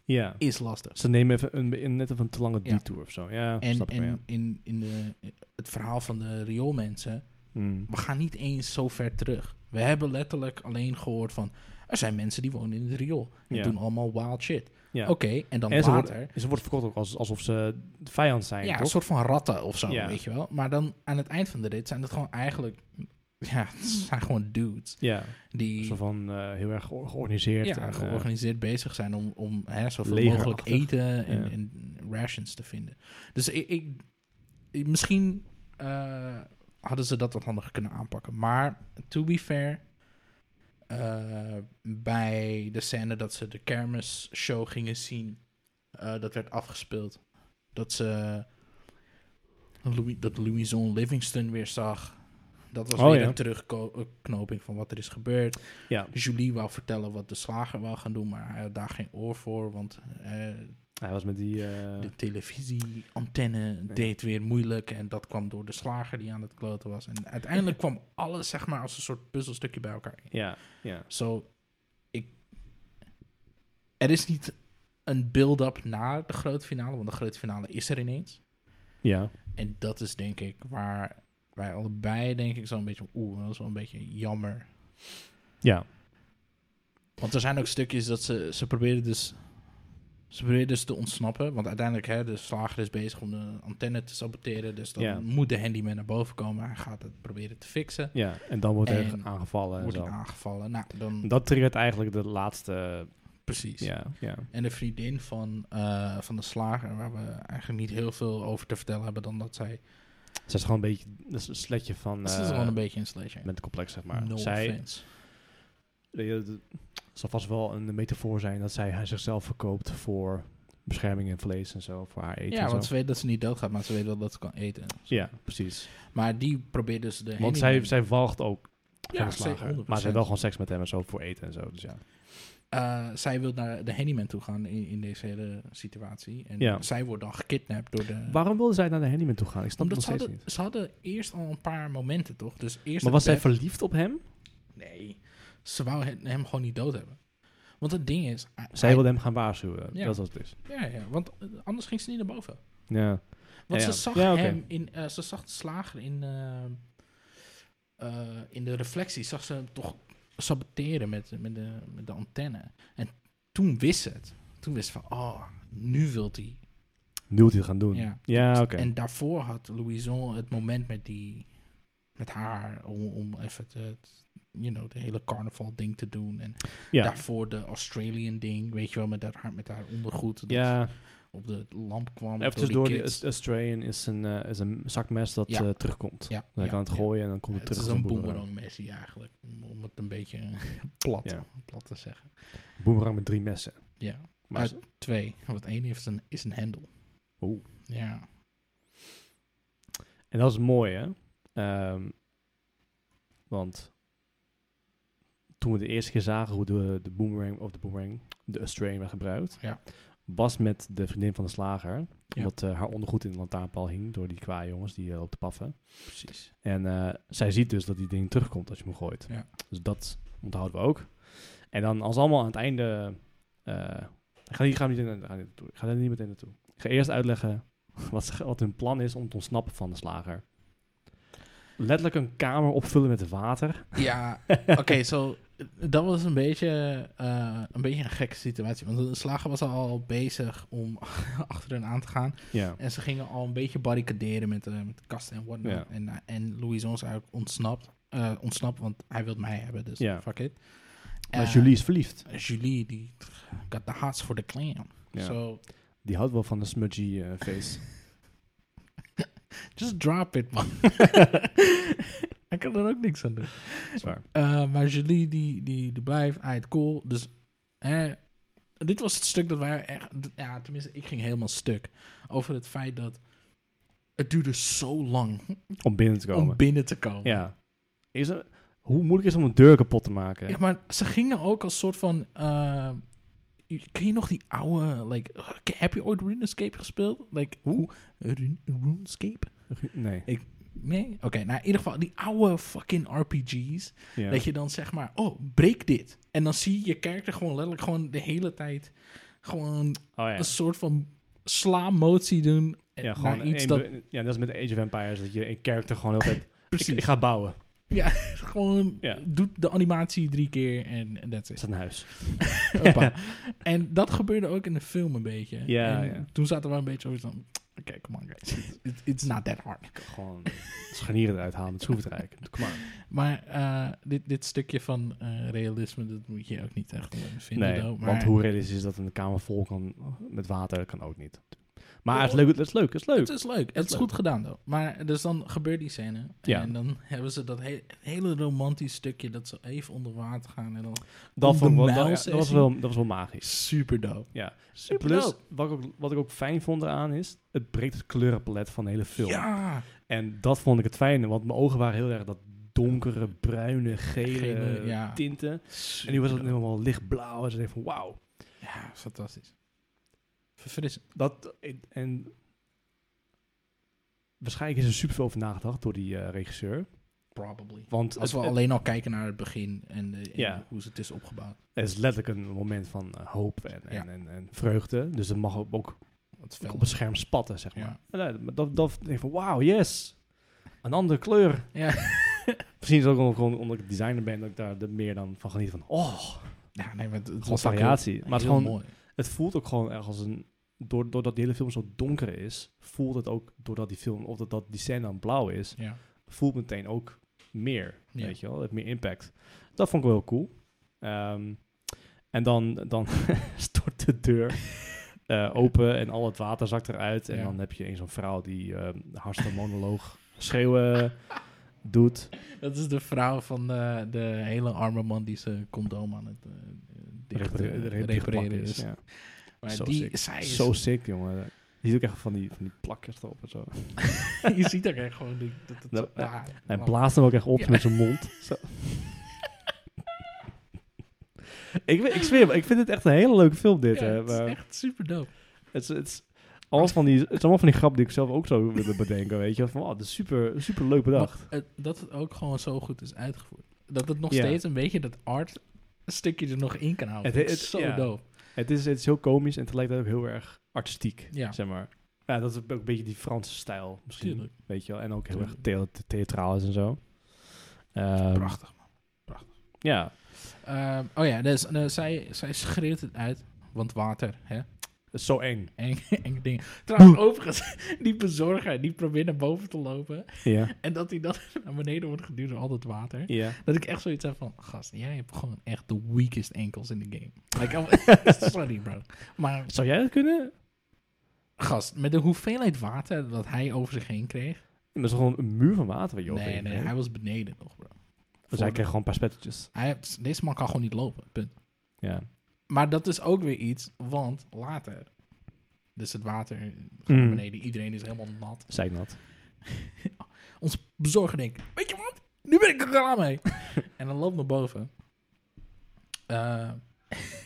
Ja. is lastig. Ze nemen even een, een- net even een te lange Ja. detour of zo. Ja, En, snap ik wel, ja. en in, in de, het verhaal van de rioolmensen, Mm. we gaan niet eens zo ver terug. We hebben letterlijk alleen gehoord van... Er zijn mensen die wonen in het riool. En Ja. doen allemaal wild shit. Ja. Oké, en dan En ze later... Ze wordt verkocht ook als, alsof ze vijand zijn, Ja, een toch? soort van ratten of zo, Ja. weet je wel. Maar dan aan het eind van de rit zijn dat gewoon eigenlijk... Ja, het zijn gewoon dudes Ja, die zo van eh, heel erg geor- georganiseerd. en, ja, eh, georganiseerd bezig zijn om, om hè, zoveel Legerachtig. mogelijk eten en, Ja. en rations te vinden. Dus ik... ik ik- misschien eh, hadden ze dat wat handiger kunnen aanpakken. Maar, to be fair... eh, bij de scène dat ze de kermis show gingen zien... eh, dat werd afgespeeld. Dat ze... Louis, dat Louison Livingston weer zag. Dat was Oh, weer ja. een terugknoping van wat er is gebeurd. Ja. Julie wou vertellen wat de slager wou gaan doen, maar hij had daar geen oor voor, want eh, Hij was met die... eh, de televisieantenne deed weer moeilijk. En dat kwam door de slager die aan het kloten was. En uiteindelijk kwam alles zeg maar als een soort puzzelstukje bij elkaar. ja, ja. Zo, ik... Er is niet een build-up na de grote finale, want de grote finale is er ineens. Ja. En dat is denk ik waar wij allebei denk ik zo'n beetje... Oeh, dat is wel een beetje jammer. Ja. Want er zijn ook stukjes dat ze, ze proberen dus... Ze proberen dus te ontsnappen. Want uiteindelijk, hè, de slager is bezig om de antenne te saboteren. Dus dan Ja. moet de handyman naar boven komen. Hij gaat het proberen te fixen. Ja, en dan wordt hij En aangevallen en Wordt zo. hij aangevallen. Nou, dan Dat triggert eigenlijk de laatste... precies. Ja, ja. En de vriendin van, eh, van de slager, waar we eigenlijk niet heel veel over te vertellen hebben dan dat zij... Ze is gewoon een beetje... Dat is een sletje van... ze eh, is gewoon een beetje een slasher. Met complex, zeg maar. no zij, offense. Weet je, Het Eh, zal vast wel een metafoor zijn dat zij haar zichzelf verkoopt voor bescherming en vlees en zo, voor haar eten. Ja, en want zo. ze weet dat ze niet doodgaat, maar ze weet wel dat ze kan eten. ja precies. Maar die probeert dus de Want zij, handyman- zij walgt ook Ja, van de slager. zeker, 100%. Maar ze heeft wel gewoon seks met hem en zo voor eten en zo. Dus ja. eh, zij wil naar de handyman toe gaan in, in deze hele situatie. En Ja. zij wordt dan gekidnapt door de... Waarom wilde zij naar de handyman toe gaan? Ik snap het Omdat nog ze steeds hadden, niet. ze hadden eerst al een paar momenten, toch? Dus eerst Maar het was zij bed- verliefd op hem? Nee, ze wou hem, hem gewoon niet dood hebben. Want het ding is... hij- Zij wilde hem gaan waarschuwen. Ja. Dat was het dus. Ja, ja, want eh, anders ging ze niet naar boven. Ja. Ja, Want ze ja. zag Ja, oké. hem in, eh, ze zag de slager in, eh, eh, in de reflectie, zag ze hem toch saboteren met, met, de, met de antenne. En toen wist ze het. Toen wist ze van, oh, nu wil hij. Nu wil hij het gaan doen. Ja, Ja. oké. En daarvoor had Louison het moment met die, met haar, om, om even te, het, you know, de hele carnaval ding te doen. En Ja. daarvoor de Australian ding, weet je wel, met haar, met haar ondergoed dat Ja, op de lamp even kwam. door die tussendoor. kids. Die Australian is een, eh, is een zakmes dat Ja. eh, terugkomt. ja, Hij ja, kan het ja. gooien en dan komt het, Het terug. is als een boemerang. boomerang Messi eigenlijk, om- om het een beetje plat, Ja. plat te zeggen. Boomerang met drie messen. Ja, Maar Uit- twee. Want één heeft een, is een hendel. Oeh. Ja. En dat is mooi, hè? Ehm, want toen we de eerste keer zagen hoe de, de boomerang, of de boomerang, de Australian werd gebruikt, Ja. was met de vriendin van de slager, Ja. omdat eh, haar ondergoed in de lantaarnpaal hing door die kwaai jongens die eh, op te paffen. Precies. En eh, zij ziet dus dat die ding terugkomt als je hem gooit. Ja. Dus dat onthouden we ook. En dan als allemaal aan het einde... eh ik ga hier gaan we niet, in- ga niet naartoe. Ik ga daar niet meteen naartoe. Ik ga eerst uitleggen wat, ze- wat hun plan is om te ontsnappen van de slager. Letterlijk een kamer opvullen met water. Ja, oké, zo... Dat was een beetje, eh, een beetje een gekke situatie. Want de slager was al bezig om achter hen aan te gaan. Ja. En ze gingen al een beetje barricaderen met, eh, met kasten en whatnot. Ja. En, eh, en Louison is eigenlijk ontsnapt. eh, ontsnapt, want hij wil mij hebben, dus Ja. fuck it. Maar Eh, Julie is verliefd. Julie, die got the hearts for the clan. Ja. So, Die houdt wel van een smudgy eh, face. just drop it, man. Ik kan er ook niks aan doen. Zwaar. Eh, maar Julie, die, die, die blijft, hij het cool. Dus, hè, dit was het stuk dat wij echt... Ja, tenminste, ik ging helemaal stuk. Over het feit dat het duurde zo lang Om binnen te komen. om binnen te komen. ja. Is er, hoe moeilijk is het om een deur kapot te maken? Ja, maar ze gingen ook als soort van... eh, ken je nog die oude... Like, eh, heb je ooit RuneScape gespeeld? Like, hoe? Rune, RuneScape? Nee. Nee? Oké, nou in ieder geval die oude fucking RPG's. Ja. Dat je dan zeg maar, oh, breek dit. En dan zie je je karakter gewoon letterlijk gewoon de hele tijd gewoon oh, ja. een soort van sla-motie doen. Ja, naar gewoon eh, iets één dat... be- ja, dat is met Age of Empires, dat je een character gewoon altijd... ik, Precies. ik ga bouwen. Ja, gewoon Ja. doet de animatie drie keer en en that's Is it. dat een huis? Hoppa. en dat gebeurde ook in de film een beetje. Ja, en ja. toen zaten we een beetje over van, oké, come on guys. It- It's not that hard. Ik kan gewoon scharnieren eruit halen met schroevendraaier. Kom maar. Maar eh, dit, dit stukje van eh, realisme, dat moet je ook niet echt eh, vinden. Nee, though. maar, want hoe realistisch is dat een kamer vol kan met water? Dat kan ook niet. Maar Ja. het is leuk, het is leuk, het is leuk. Het is leuk. Het is leuk. goed gedaan, though. Maar dus dan gebeurt die scène. Ja. En dan hebben ze dat he- hele romantisch stukje dat ze even onder water gaan. En dan Dat, de vond ik wel- dat- ja, dat, mijlsessie. was wel, dat was wel magisch. super dope. Ja. Super Plus, dope. wat ik, ook, wat ik ook fijn vond eraan is, het breekt het kleurenpalet van de hele film. Ja. En dat vond ik het fijne, want mijn ogen waren heel erg dat donkere, bruine, gele Gele, ja. tinten. En nu was het helemaal lichtblauw. En ze dacht van, wauw. Ja, fantastisch. Verfrissend. Dat, en waarschijnlijk is er super veel over nagedacht door die eh, regisseur. Probably. Want Als we het, alleen al kijken naar het begin en, eh, en Ja. hoe ze het is opgebouwd. het is letterlijk een moment van eh, hoop en, en, Ja. en, en vreugde. Dus dat mag ook, ook Wat fel. op het scherm spatten, zeg maar. Ja. Ja, maar dat, dat denk ik van, wauw, yes. Een andere kleur. Ja. Misschien is het ook omdat- gewoon omdat ik designer ben, dat ik daar er meer dan van geniet van. Oh, Ja, nee, maar het, het gewoon was ook variatie. heel- Maar het, heel gewoon, mooi. het voelt ook gewoon erg als een... door- Doordat die hele film zo donker is, voelt het ook, doordat die film, of dat, dat die scène dan blauw is, Ja. voelt meteen ook meer, Ja. weet je wel. Het heeft meer impact. Dat vond ik wel heel cool. Ehm, en dan, dan stort de deur eh, open en al het water zakt eruit. En Ja. dan heb je een zo'n vrouw die ehm hartstikke monoloog schreeuwen doet. Dat is de vrouw van de, de hele arme man die zijn condoom aan het eh, dicht, Repare- eh, repare- repareren plakken is. ja. Maar Zo die, sick. zij is, Zo sick, jongen. Je ziet ook echt van die, van die plakjes erop en zo. je ziet ook echt gewoon die- dat, dat, Nou, ja, Hij man. blaast hem ook echt op Ja. met zijn mond. Zo. ik, weet- ik zweer, ik vind het echt een hele leuke film dit. Ja, hè, het is maar- echt super dope. Het is, het is alles van die, het is allemaal van die grap die ik zelf ook zou willen bedenken, weet je. Van, wow, dat is super, super leuk bedacht. Maar, eh, dat het ook gewoon zo goed is uitgevoerd. Dat het nog Ja. steeds een beetje dat art stukje er nog in kan houden. Het- Het, is het- zo ja. dope. Het is, het is heel komisch en tegelijkertijd ook heel erg artistiek, Ja. zeg maar. Ja, dat is ook een beetje die Franse stijl misschien, Tuurlijk. weet je wel. En ook heel erg Tuurlijk. thea- theatraal is en zo. Ehm, Prachtig. Ja, Ehm, oh ja, dus, eh, zij, zij schreeuwt het uit. Want water, hè? het is zo eng. Eng, eng dingen. Trouwens, overigens, die bezorger die probeert naar boven te lopen. Ja, En dat hij dan naar beneden wordt geduwd door al dat water. ja. Dat ik echt zoiets heb van, gast, jij hebt gewoon echt de weakest ankles in de game. Like, I'm- sorry bro. Maar Zou jij dat kunnen? gast, met de hoeveelheid water dat hij over zich heen kreeg. Dat is gewoon een muur van water waar je nee, overheen nee, gaat. hij was beneden nog bro. Dus hij kreeg gewoon een paar spettertjes. Hij, deze man kan gewoon niet lopen, punt. Ja. Maar dat is ook weer iets, want later, dus het water gaat Mm. naar beneden, iedereen is helemaal nat. Zeiknat. Onze bezorger denkt, weet je wat, nu ben ik er klaar mee. en dan loopt naar boven. Eh,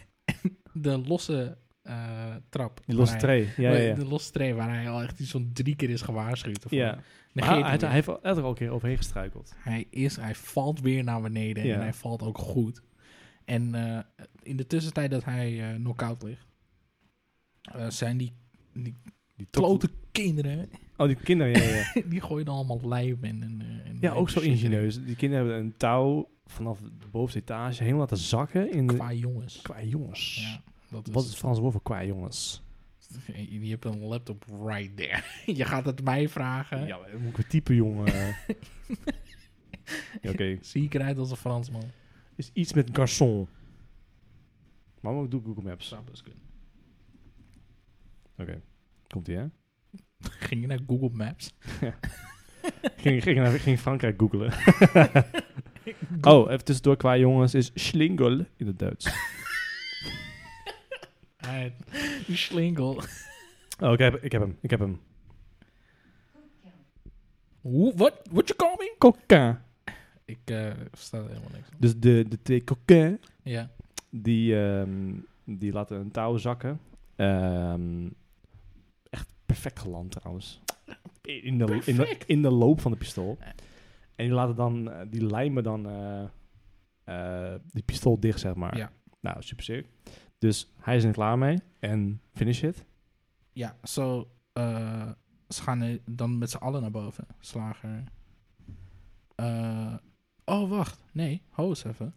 de losse eh, trap. Die losse waar hij- tree. Ja, ja, ja. De losse tree waar hij al echt zo'n drie keer is gewaarschuwd. ervoor. ja. Maar Negeert hij, hij, hij, hij heeft er ook een keer overheen gestruikeld. Hij is, hij valt weer naar beneden Ja. en hij valt ook goed. En eh, in de tussentijd dat hij eh, knock-out ligt, eh, zijn die Die klote kinderen, Oh, die kinderen, ja, ja, ja. die gooien allemaal lijm en... en, eh, en Ja, ook zo shit erin. ingenieus. Die kinderen hebben een touw vanaf de bovenste etage helemaal laten zakken in de... Qua jongens. Qua jongens. dus- Ja, dat is, Wat is het Frans woord voor qua jongens? je, je hebt een laptop right there. je gaat het mij vragen. Ja, maar dan moet ik een type jongen... eh. ja, Oké. Zie ik eruit als een Fransman? Is iets met garçon. Mama, ik doe Google Maps. Zou best kunnen. Oké. Komt-ie, hè? Ging je naar Google Maps? Ging, ging, naar- ging Frankrijk googlen. oh, even tussendoor. Qua jongens is schlingel in het Duits. Uit. Die slingel. Oh, ik heb, ik heb hem. Ik heb hem. Hoe- What? What you call me? Coquin. Ik eh, versta er helemaal niks van. Dus de, de twee coquins Ja. Die, ehm, die laten een touw zakken. Ehm, echt perfect geland trouwens. In de, in, de, Perfect. Eh. in de loop van de pistool. En die laten dan, eh, die lijmen dan eh, eh, die pistool dicht, zeg maar. Ja. Nou, super sick. Dus hij is er klaar mee. En finish it. Ja, zo. eh, ze gaan eh, dan met z'n allen naar boven. Slager. Eh, oh, wacht. Nee, ho eens even.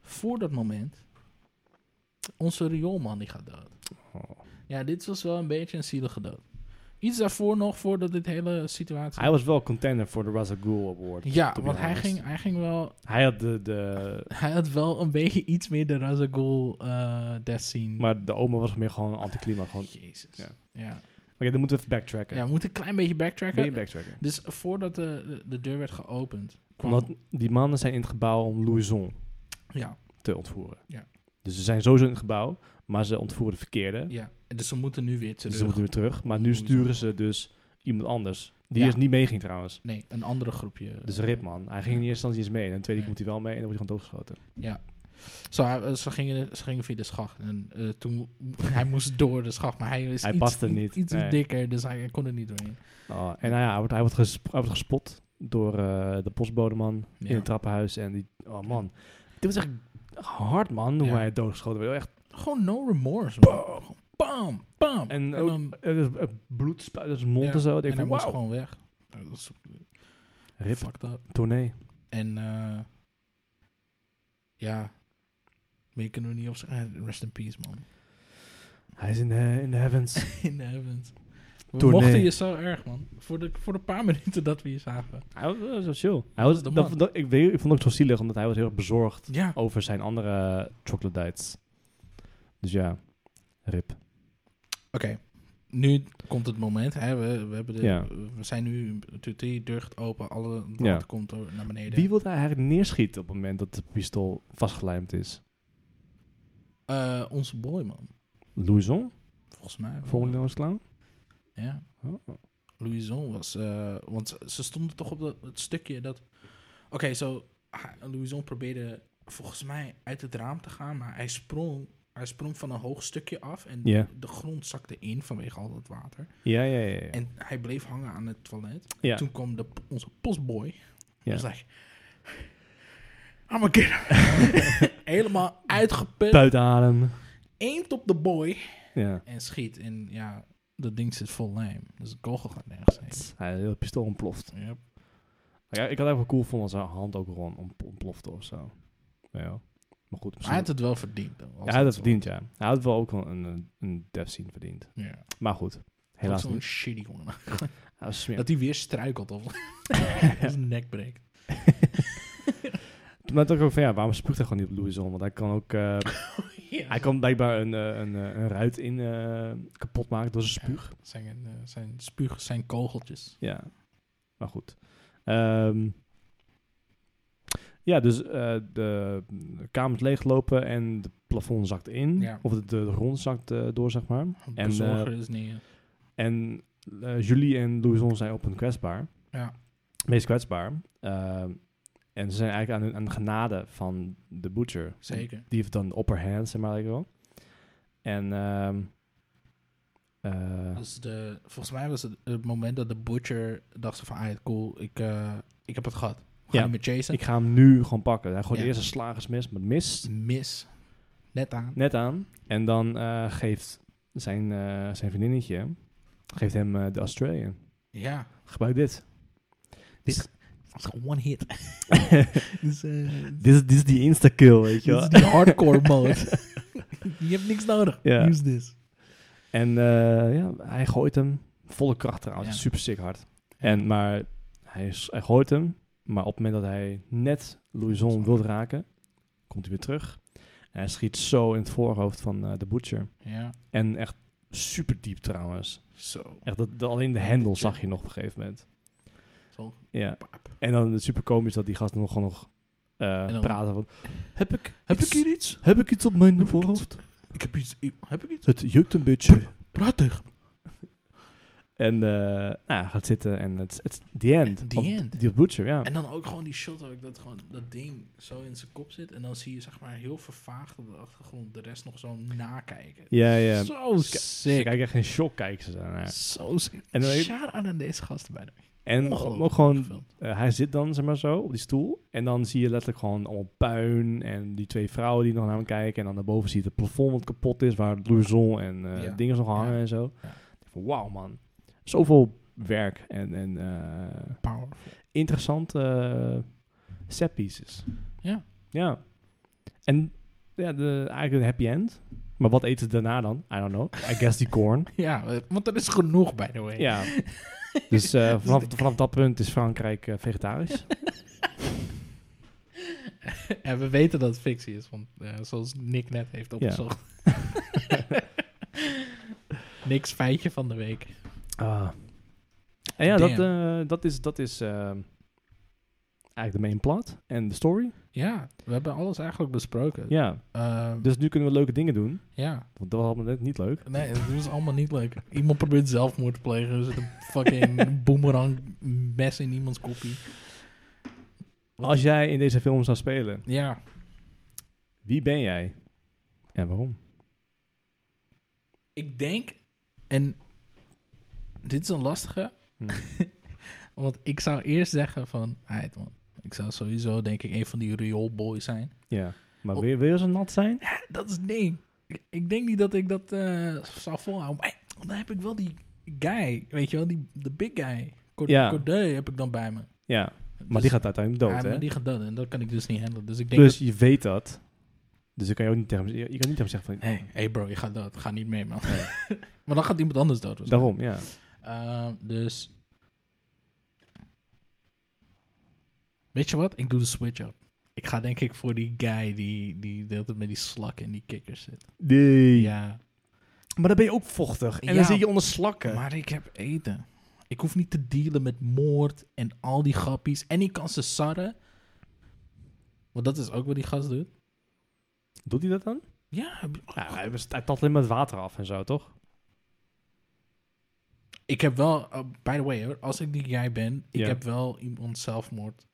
Voor dat moment. Onze rioolman die gaat dood. Oh. Ja, dit was wel een beetje een zielige dood. Iets daarvoor nog, voordat dit hele situatie... Hij was wel contender voor de Russell Gould Award. ja, to be want hij honest. ging, hij ging wel... Hij had de, de... Hij had wel een beetje iets meer de Razagul eh death scene. Maar de oma was meer gewoon een anticlimax. Gewoon... Oké, Jezus. Ja. Ja. Ja. dan moeten we even backtracken. we moeten een klein beetje Wil je backtracken. backtracken? Dus voordat de, de, de deur werd geopend... kwam- Omdat die mannen zijn in het gebouw om Louison Ja, te ontvoeren. Ja. Dus ze zijn sowieso in het gebouw, maar ze ontvoeren de verkeerde. ja. En Dus ze moeten nu weer terug. dus ze moeten weer terug. Maar nu Louison. sturen ze dus iemand anders. Die Ja. is niet meeging trouwens. Nee, een andere groepje. Dus rip man. Hij ging in eerste instantie eens mee. En in de tweede Ja. keer moet hij wel mee. En dan wordt hij gewoon doodgeschoten. Zo, hij- eh, ze, gingen, ze gingen via de schacht. En eh, toen, hij moest door de schacht, maar hij is Hij iets, paste iets- niet, iets nee. dikker, dus hij kon er niet doorheen. Oh, en nou ja, hij wordt, hij wordt, gesp- hij wordt gespot door eh, de postbodeman Ja. in het trappenhuis. En die... Oh man. Dit was echt hard man. Hoe Ja. hij doodgeschoten werd. Echt. Gewoon no remorse. Bam, bam, bam. En, En, ook, dan- eh, dus, eh, bloed spuit uit zijn mond Ja. en zo. Ik en denk hij van, moest wauw. gewoon weg. Nou, Dat is Rip. fucked up. Tournee. En eh, ja, meer kunnen we niet op zeggen. Rest in peace, man. Hij is in de, in de heavens. in de heavens. We Tournee. mochten je zo erg, man. Voor de, voor de paar minuten dat we je zagen. hij was, was wel chill. Hij was, eh, De dat, man. dat- ik, weet- ik vond het ook zo zielig, omdat hij was heel erg bezorgd Ja. over zijn andere troglodytes. Dus ja, rip. Oké, nu komt het moment. Hè? We, we, hebben de, Ja. we zijn nu, de deurt open, alle water Ja. komt door naar beneden. Wie wil hij eigenlijk neerschieten op het moment dat het pistool vastgelijmd is? Eh, onze boy, man. Louison, Volgens mij. wel. volgende ons clown? Ja. Oh. Louison was... eh, want ze- ze stonden toch op dat, het stukje dat... Oké, zo... ha- Louison probeerde volgens mij uit het raam te gaan, maar hij sprong, hij sprong van een hoog stukje af en Ja. de grond zakte in vanwege al dat water. Ja, ja, ja. ja. En hij bleef hangen aan het toilet. Ja. Toen kwam de, onze postboy. Ja. Ja. was like, I'm a get him." Helemaal uitgeput. Buiten adem. Aimt op de boy. Ja. En schiet. En ja, dat ding zit vol lijm. Dus de kogel gaat nergens heen. Hij heel het pistool ontploft. Yep. Ja, ik had eigenlijk wel cool gevonden als haar hand ook rond ont- ontplofte of zo. Ja. Maar goed, Hij misschien... had het wel verdiend. Dan, Ja, hij had het verdiend, ja. Hij had wel ook wel een, een, een death scene verdiend. Ja. Maar goed, Ook helaas Zo'n niet. shitty one. Hij was smerig. Dat hij weer struikelt of zijn nek breekt. Toen dacht ik ook van ja, waarom spuugt hij gewoon niet op Louison? Want hij kan ook. eh, Ja. hij kan blijkbaar een, eh, een, eh, een ruit in eh, kapot maken door zijn spuug. Zijn, eh, zijn spuug, zijn kogeltjes. Ja. Maar goed. Ehm, ja, dus eh, de kamers leeglopen en het plafond zakt in. Ja. Of de, de grond zakt eh, door, zeg maar. En, eh, Bezorger is eh, neer. En eh, Julie en Louison zijn op hun kwetsbaar. Ja. Meest kwetsbaar. Ehm, en ze zijn eigenlijk aan, hun- aan de genade van de butcher. Zeker. Die heeft dan de upper hand, zeg maar. Eigenlijk wel. En ehm eh, Dus de, volgens mij was het het moment dat de butcher dacht van, ah, cool, ik, eh, ik heb het gehad. We gaan Ja. hem weer chasen. ik ga hem nu gewoon pakken. Hij gooit Ja. eerst een slagersmes met mist. mis. Net aan. Net aan. En dan eh, geeft zijn, eh, zijn vriendinnetje geeft hem eh, de Australian. Ja. Gebruik dit. Dit is gewoon one hit. dus, eh, Dit is, dit is die insta-kill, weet dit is die hardcore mode. Je hebt niks nodig. Ja. Use this. En eh, ja, hij gooit hem. Volle kracht trouwens. Ja. Super sick hard. En, maar hij, is- hij gooit hem. Maar op het moment dat hij net Louison wil raken, komt hij weer terug. En hij schiet zo in het voorhoofd van eh, de butcher. Ja. En echt super diep trouwens. Zo. Echt dat, dat- alleen de hendel zag je nog op een gegeven moment. Zo. Ja. Pap. En dan het super komisch dat die gasten nog gewoon nog eh, dan- praten van... Heb ik, Heb ik hier iets? heb ik iets op mijn Heb ik voorhoofd? Ik heb iets. ik- Heb ik iets? Het jukt een beetje. Praat tegen. me. En eh, nou, hij gaat zitten en het is the end. The Of end. Die butcher, ja. En dan ook gewoon die shot dat ik dat, gewoon, dat ding zo in zijn kop zit. En dan zie je zeg maar heel vervaagd op de achtergrond de rest nog zo nakijken. ja, ja. Zo Ze sick. Kijk, echt in shock kijken ze daarnaar. Zo sick. En dan- Shout-out aan deze gasten bij de En Ongelooflijk ook gewoon, gefilmd. eh, hij zit dan zeg maar zo op die stoel. En dan zie je letterlijk gewoon allemaal puin. En die twee vrouwen die nog naar hem kijken. En dan daarboven zie je het plafond wat kapot is. Waar Louison en eh, Ja. dingen nog hangen Ja. en zo. Ja. Van, Wauw man. Zoveel werk en, en eh, Powerful. interessante eh, set pieces. Ja. Ja. En ja, de, eigenlijk een happy end. Maar wat eten ze daarna dan? I don't know. I guess die corn. Ja, eh, want er is genoeg, by the way. Ja. Dus eh, vanaf, vanaf dat punt is Frankrijk eh, vegetarisch. En we weten dat het fictie is, want eh, zoals Nick net heeft opgezocht. Niks feitje van de week. Ah. En ja, dat, Damn. eh, dat is, dat is eh, eigenlijk de main plot en de story. Ja, we hebben alles eigenlijk besproken. Ja. Ja, dus nu kunnen we leuke dingen doen. ja. Want dat hadden we net niet leuk. Nee, dat is allemaal niet leuk. Iemand probeert zelfmoord te plegen. Er zit een fucking boemerang mes in iemands koppie. Als jij in deze film zou spelen, Ja, wie ben jij? En waarom? ik denk... En dit is een lastige. Hm. Want ik zou eerst zeggen van... "Heid, man, ik zou sowieso denk ik een van die rioolboys zijn. Ja, maar Op- wil, je- wil je zo nat zijn? Dat is nee. Ik- Ik denk niet dat ik dat eh, zou volhouden. Maar dan heb ik wel die guy. Weet je wel, die, de big guy. Cord Ja. Corday heb ik dan bij me. Ja, maar Dus- die gaat uiteindelijk dood, ja, hè? maar die gaat dood. En dat kan ik dus niet handelen. Dus ik denk Dus je weet dat. Dus dan kan je ook niet tegen hem, je kan niet tegen hem zeggen van... Hé, hey, hey bro, je gaat dood. Ga niet mee, man. maar dan gaat iemand anders dood. Dus. Daarom, ja. Ehm, dus... Weet je wat? Ik doe de switch up. Ik ga denk ik voor die guy die, die de hele tijd met die slak en die kikkers zit. Nee. Ja, Maar dan ben je ook vochtig. En Ja. dan zit je onder slakken. maar ik heb eten. Ik hoef niet te dealen met moord en al die grappies. En ik kan ze sarren. Want dat is ook wat die gast doet. Doet hij dat dan? Ja, heb- Ja, hij best- hij tat alleen maar het water af en zo, toch? Ik heb wel, eh, by the way hoor, als ik die jij ben, ik Ja. heb wel iemand zelfmoord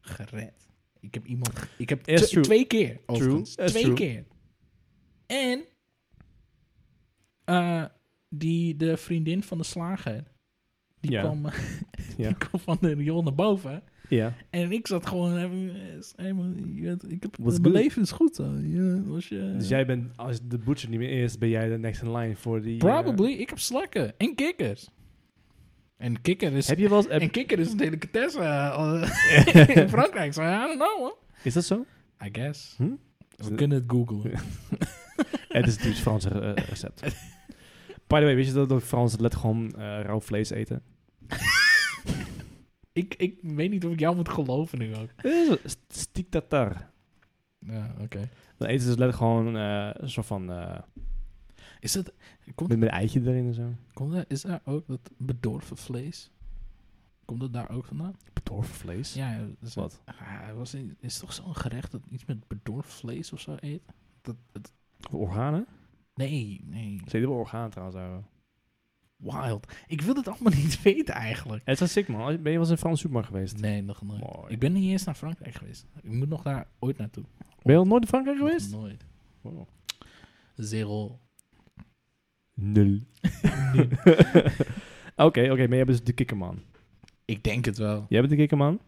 gered. Ik heb iemand, ik heb Is tw- true. twee keer overigens. Is twee true. keer. En eh, die, de vriendin van de slager, die, Ja. kwam, eh, Ja. die kwam van de riool naar boven. Ja. En ik zat gewoon, eh, is- helemaal- je weet, ik heb, Was mijn good. leven is goed. hoor. Ja, was je, Dus jij bent, als de butcher niet meer is, ben jij de next in line voor die... eh, Probably, ik heb slakken en kikkers. En kikker is heb je wel eens... heb- En kikker is een delicatesse eh, in Frankrijk. So, I don't know, man. is dat zo? I guess. Hm? We kunnen het googlen. Het is natuurlijk Frans eh, recept. By the way, wist je dat de Fransen let gewoon eh, rauw vlees eten? ik, ik weet niet of ik jou moet geloven nu ook. Stiek tatar. Ja, oké. Dan eten ze dus letterlijk gewoon eh, een soort van... eh, Is dat... Komt, met met een eitje erin en zo. komt daar, is daar ook dat bedorven vlees? Komt dat daar ook vandaan? Bedorven vlees. Ja, ja, is dat- Wat? Ah, was in- is toch zo'n gerecht dat iets met bedorven vlees of zo eet? Dat, dat- Organen? nee, nee. Ze eten wel organen trouwens. ouwe. Wild. Ik wil het allemaal niet weten eigenlijk. Het is wel sick, man. Ben je wel eens in een Franse supermarkt geweest? Nee, nog nooit. Mooi. Ik ben niet eens naar Frankrijk geweest. Ik moet nog daar ooit naartoe. Ben je al nooit in Frankrijk Nog geweest? Nooit. Wow. Zero. Nul. Oké, oké, maar jij bent dus de kikkerman. Ik denk het wel. Jij bent de kikkerman?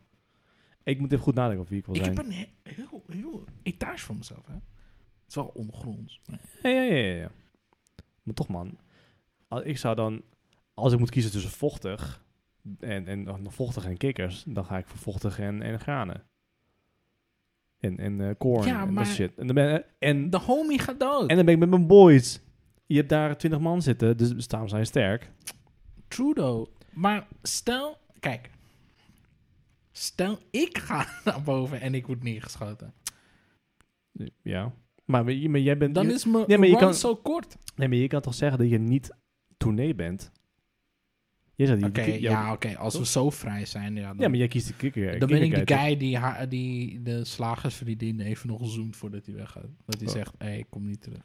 Ik moet even goed nadenken over wie ik wil Ik zijn. heb een he- heel, heel etage van mezelf, hè. Het is wel ondergronds. maar- Ja, ja, ja, ja, ja. Maar toch, man. Al- Ik zou dan... Als ik moet kiezen tussen vochtig en, en oh, vochtig en kikkers, dan ga ik voor vochtig en, en granen. En, en eh corn Ja, en maar- dat shit. En, dan ben, en De homie gaat dood. En dan ben ik met mijn boys. Je hebt daar twintig man zitten, dus staan zijn sterk. Trudeau. Maar stel... Kijk. Stel, ik ga naar boven en ik word neergeschoten. Ja. Maar, we- maar jij bent... Dan je- is mijn nee, maar je run kan- zo kort. Nee, maar je kan toch zeggen dat je niet tournee bent? Jij zei die... Oké, die- jou- ja, oké. Als we zo vrij zijn, ja, dan, Ja, maar jij kiest de eh, kikker. dan ben ik de kikkerkijker. guy die, ha- die de slagersvriendin even nog zoent voordat hij weggaat. Dat hij Oh. zegt, hé, hey, kom niet terug.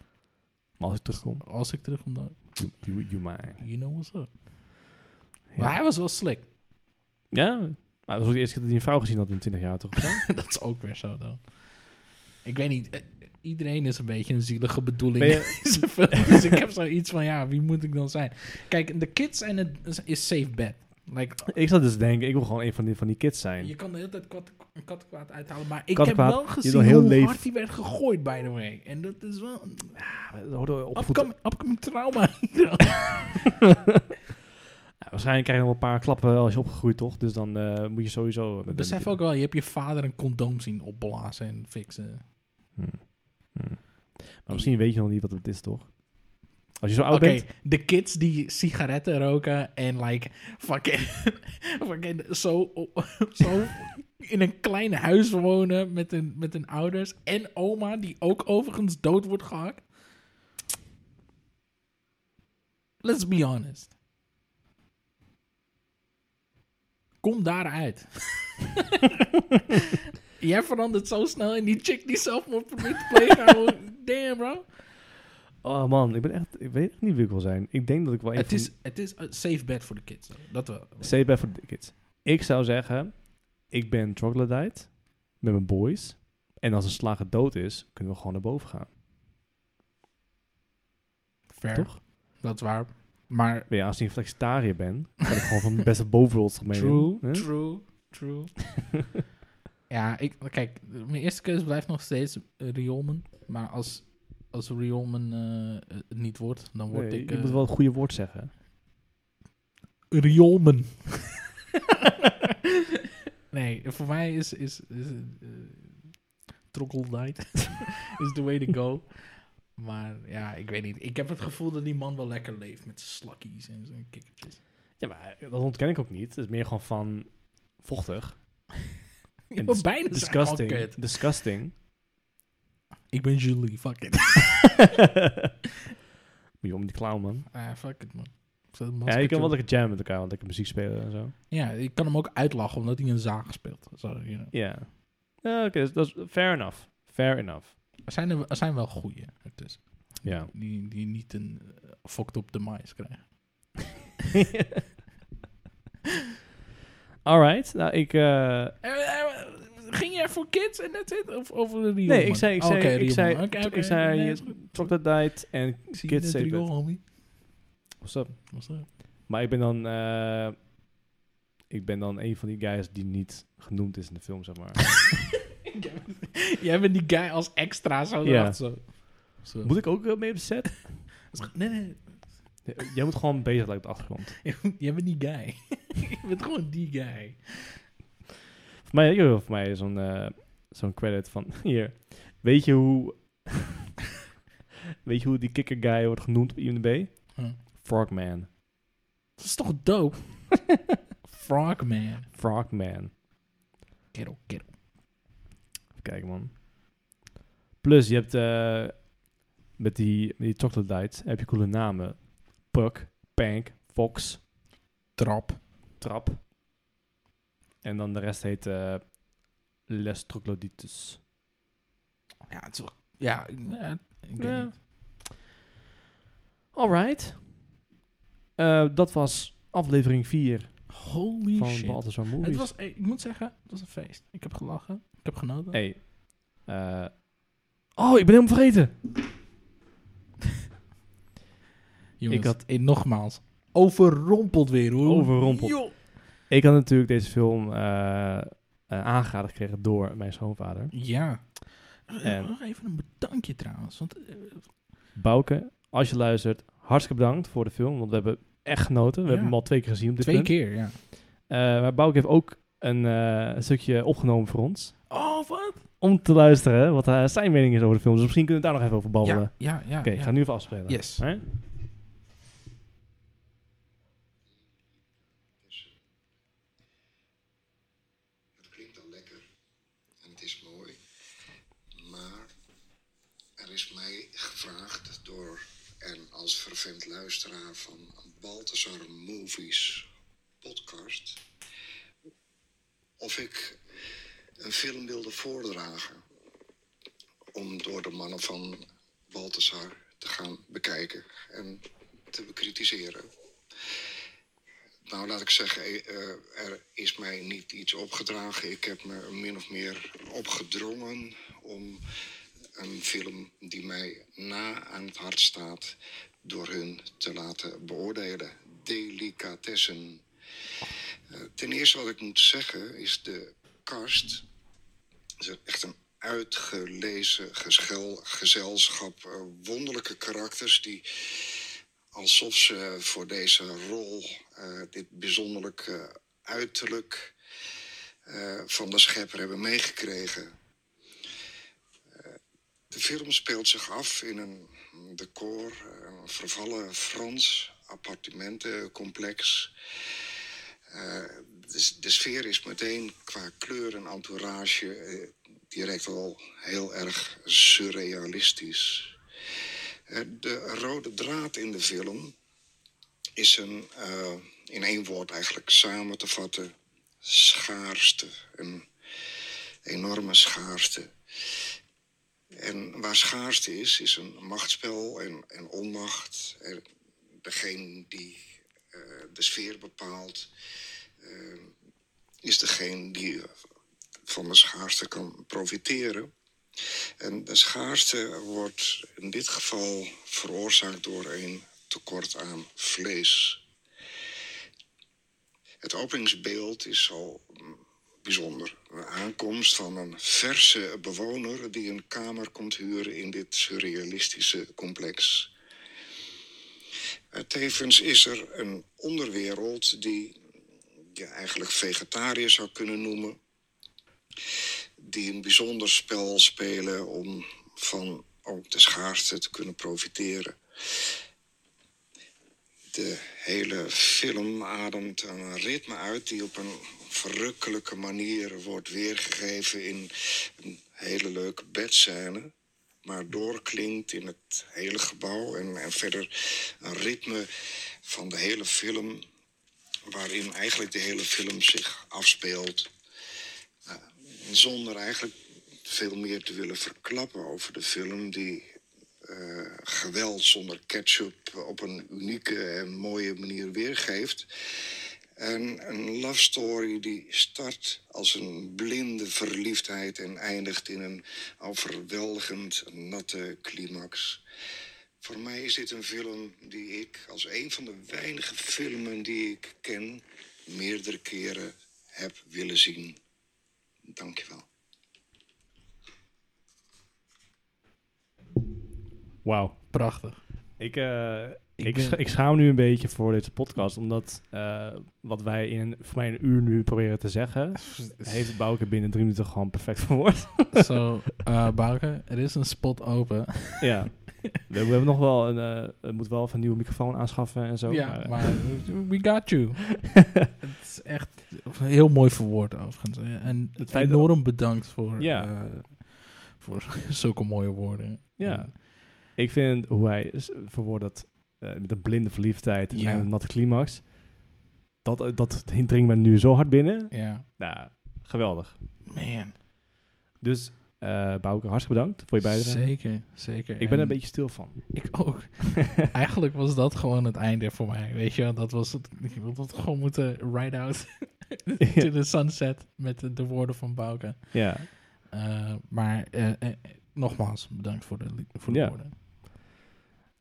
Maar als ik terugkom, Als ik terugkom, dan... you, you, you mine. You know what's up. Ja. Maar hij was wel slick. Ja, maar dat was ook de eerste keer dat hij een vrouw gezien had in 20 jaar, toch? dat is ook weer zo dan. Ik weet niet. eh, Iedereen is een beetje een zielige bedoeling. Ben je- in zijn film. dus ik heb zoiets van, ja, wie moet ik dan zijn? Kijk, de kids en het is- is safe bet. Like, ik zat dus te denken, ik wil gewoon een van die, van die kids zijn. je kan de hele tijd kat, kat kwaad uithalen. Maar ik Kat heb kwaad, wel is gezien wel heel hoe leef. hard hij werd gegooid, by the way. En dat is wel een Ja, dat hoorden we opgevoed. upcoming, upcoming trauma. Ja, waarschijnlijk krijg je nog wel een paar klappen als je opgegroeid, toch? Dus dan eh, moet je sowieso... met- Besef ook wel, je hebt je vader een condoom zien opblazen en fixen. Hmm. Maar misschien weet je nog niet wat het is, toch? Als je zo oud Oké, bent... de kids die sigaretten roken en like fucking, fucking zo, zo in een klein huis wonen met hun, met hun ouders. En oma die ook overigens dood wordt gehakt. Let's be honest. Kom daaruit. Jij verandert zo snel en die chick die zelfmoord probeert te plegen. ouwe. Damn, bro. Oh man, ik, ben echt, ik weet echt niet wie ik wil zijn. Ik denk dat ik wel een Het van is, het is een safe bed voor de kids. hoor. Dat wel. die- Save that for the kids. Ik zou zeggen, ik ben troglodyte met mijn boys. En als een slager dood is, kunnen we gewoon naar boven gaan. Fair. Toch? Dat is waar. Maar Maar ja, als ik een flexitariër ben, kan ik gewoon van de beste bovenrots mee. true, true, true. ja, ik, kijk, mijn eerste keuze blijft nog steeds eh, Rioolman. Maar als, als Rioolman eh, het niet wordt, dan word ik... je eh, moet wel het goede woord zeggen. Rioolman. nee, voor mij is, is, is eh, Troglodyte is the way to go. Maar ja, ik weet niet. Ik heb het gevoel dat die man wel lekker leeft met zijn slakkies en zijn kikkertjes. Ja, maar eh, dat ontken ik ook niet. Het is meer gewoon van vochtig. oh, Ik dis- ben bijna disgusting. Disgusting. Disgusting. Ik ben Julie, fuck it. Moet je om die clown, man. Ah, fuck it man. Ik zet een Ja, je masker kan wel op. lekker jammen met elkaar, want lekker muziek spelen en zo. ja, ik kan hem ook uitlachen omdat hij een zaag speelt. Zo, you know. Ja. Ja, oké, dus dat is fair enough. Fair enough. Er, zijn er, er zijn wel goeie ertussen. Ja. Die, die niet een eh, fokt op de mais krijgen. Alright, nou ik... eh, Eh, eh, Ging jij voor kids en dat it? Of over de Rio? nee, ik zei... Ik Oh, zei, oké, ik Rio zei, man. Oké, oké. ik zei Nee, je is goed. troglodyte en Zie je kids net zeker. Rio, homie? What's up? Was dat? Maar ik ben dan... eh, ik ben dan een van die guys die niet genoemd is in de film, zeg maar. Jij bent die guy als extra zo. Ja. erachter, Zo. Zo. Moet ik ook eh, mee op de set? Nee, nee. Jij moet gewoon bezig lijken op de achtergrond. Jij bent die guy. je bent gewoon die guy. Voor mij, joh, voor mij zo'n eh, zo'n credit van hier. Weet je hoe. weet je hoe die kicker guy wordt genoemd op IMDb? Hm. Frogman. Dat is toch dope? Frogman. Frogman. Kerel, kerel. Even kijken, man. Plus, je hebt. eh, met die, met die troglodytes heb je coole namen: Puck, Pank, Fox, Trap. Trap. En dan de rest heet. eh, Les Troglodytes. Ja, het is wel... Ja, ik, ja, ik weet Ja. niet. Alright. Eh, dat was aflevering 4 Holy van shit. Balthazar Movies. Het was, eh, ik moet zeggen, het was een feest. Ik heb gelachen. Ik heb genoten. Hey. eh, oh, ik ben helemaal vergeten. Jongens, ik had- eh, nogmaals, overrompeld weer hoor. Overrompeld. Yo. Ik had natuurlijk deze film eh eh, aangeraden gekregen door mijn schoonvader. Ja. En- Eh, nog even een bedankje trouwens. Want eh, Bouke, als je luistert, hartstikke bedankt voor de film. Want we hebben echt genoten. We Ja. hebben hem al twee keer gezien op dit twee punt. keer, ja. Eh, maar Bouke heeft ook een eh, stukje opgenomen voor ons. Oh, wat? Om te luisteren wat eh, zijn mening is over de film. Dus misschien kunnen we daar nog even over babbelen. Ja, ja, ja. Oké, ja. ik ga nu even afspelen. Yes. Hè? Het klinkt al lekker en het is mooi. Maar er is mij gevraagd door en als vervent luisteraar van Balthazar Movies podcast of ik een film wilde voordragen om door de mannen van Balthazar te gaan bekijken en te bekritiseren. Nou, laat ik zeggen, eh, eh, er is mij niet iets opgedragen. Ik heb me min of meer opgedrongen om een film die mij na aan het hart staat, door hun te laten beoordelen. Delicatessen. Eh, ten eerste wat ik moet zeggen is de cast. Het is echt een uitgelezen geschel, gezelschap. eh, wonderlijke karakters die alsof ze voor deze rol eh, dit bijzonderlijke uiterlijk eh, van de schepper hebben meegekregen. Eh, de film speelt zich af in een decor, een vervallen Frans appartementencomplex. Eh, de, de sfeer is meteen qua kleur en entourage eh, direct al heel erg surrealistisch. Eh, De rode draad in de film is een, eh, in één woord eigenlijk samen te vatten: schaarste, een enorme schaarste. En waar schaarste is, is een machtsspel en, en onmacht. En degene die eh, de sfeer bepaalt, eh, is degene die van de schaarste kan profiteren. En de schaarste wordt in dit geval veroorzaakt door een tekort aan vlees. Het openingsbeeld is al mm, bijzonder. Een aankomst van een verse bewoner die een kamer komt huren in dit surrealistische complex. Eh, Tevens is er een onderwereld die je eigenlijk vegetariër zou kunnen noemen die een bijzonder spel spelen om van ook de schaarste te kunnen profiteren. De hele film ademt een ritme uit die op een verrukkelijke manier wordt weergegeven in een hele leuke bedscène. Maar doorklinkt in het hele gebouw en, en verder een ritme van de hele film, waarin eigenlijk de hele film zich afspeelt zonder eigenlijk veel meer te willen verklappen over de film die eh, geweld zonder ketchup op een unieke en mooie manier weergeeft. En een love story die start als een blinde verliefdheid en eindigt in een overweldigend natte climax. Voor mij is dit een film die ik als een van de weinige filmen die ik ken meerdere keren heb willen zien. Dankjewel. Wauw. Prachtig. Ik, eh, ik, Ik ben- scha- ik schaam nu een beetje voor deze podcast, omdat eh, wat wij in voor mij een uur nu proberen te zeggen, heeft Bouke binnen drie minuten gewoon perfect verwoord. Zo, eh, Bouke, er is een spot open. ja. We, we hebben nog wel een, eh, we moeten wel even een nieuwe microfoon aanschaffen en zo. ja, maar- maar we got you. het is echt heel mooi verwoord overigens. Eh, En Het feit dat- enorm bedankt voor, Ja. eh, voor zulke mooie woorden. Ja. Ik vind hoe hij s- verwoordt dat eh, met een blinde verliefdheid en Ja. een natte climax. Dat, eh, dat dringt me nu zo hard binnen. Ja. Nou, geweldig. Man. Dus eh Bouke, hartstikke bedankt voor je bijdrage. Zeker, zeker. Ik ben er een En beetje stil van. Ik ook. Eigenlijk was dat gewoon het einde voor mij, weet je wel. Dat was het, ik had dat gewoon moeten ride out to the sunset met de, de woorden van Bouke. ja. Eh, maar eh, eh, eh, nogmaals, bedankt voor de, li- voor de Ja. woorden.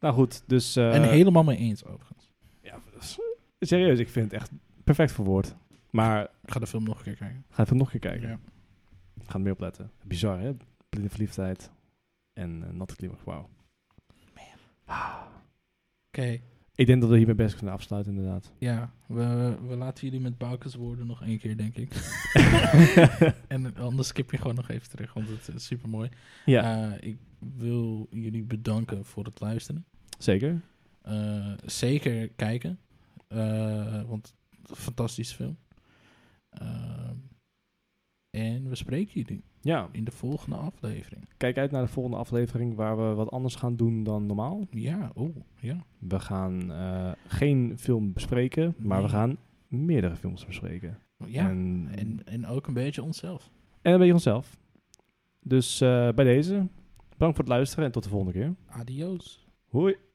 Nou goed, dus... eh, en helemaal mee eens overigens. ja, s- serieus, ik vind het echt perfect verwoord. Maar Ik ga de film nog een keer kijken. ga even nog een keer kijken. Ja. Ga er meer op letten. Bizar, hè? Blinde verliefdheid en eh, natte climax. Wauw. Oké, Ik denk dat we hiermee best kunnen afsluiten, inderdaad. ja. We, we laten jullie met Bouke's woorden nog één keer, denk ik. en anders skip je gewoon nog even terug, want het is super mooi. ja, ik wil jullie bedanken voor het luisteren. zeker. Eh, zeker kijken. Eh, want een fantastische film. Ehm, en we spreken jullie Ja, in de volgende aflevering. kijk uit naar de volgende aflevering waar we wat anders gaan doen dan normaal. Ja, oh, ja. We gaan eh, geen film bespreken, maar we Nee. gaan meerdere films bespreken. Ja, en, en, en, en, ook een beetje onszelf. een beetje onszelf. Dus eh, bij deze, bedankt voor het luisteren en tot de volgende keer. Adios. Hoi!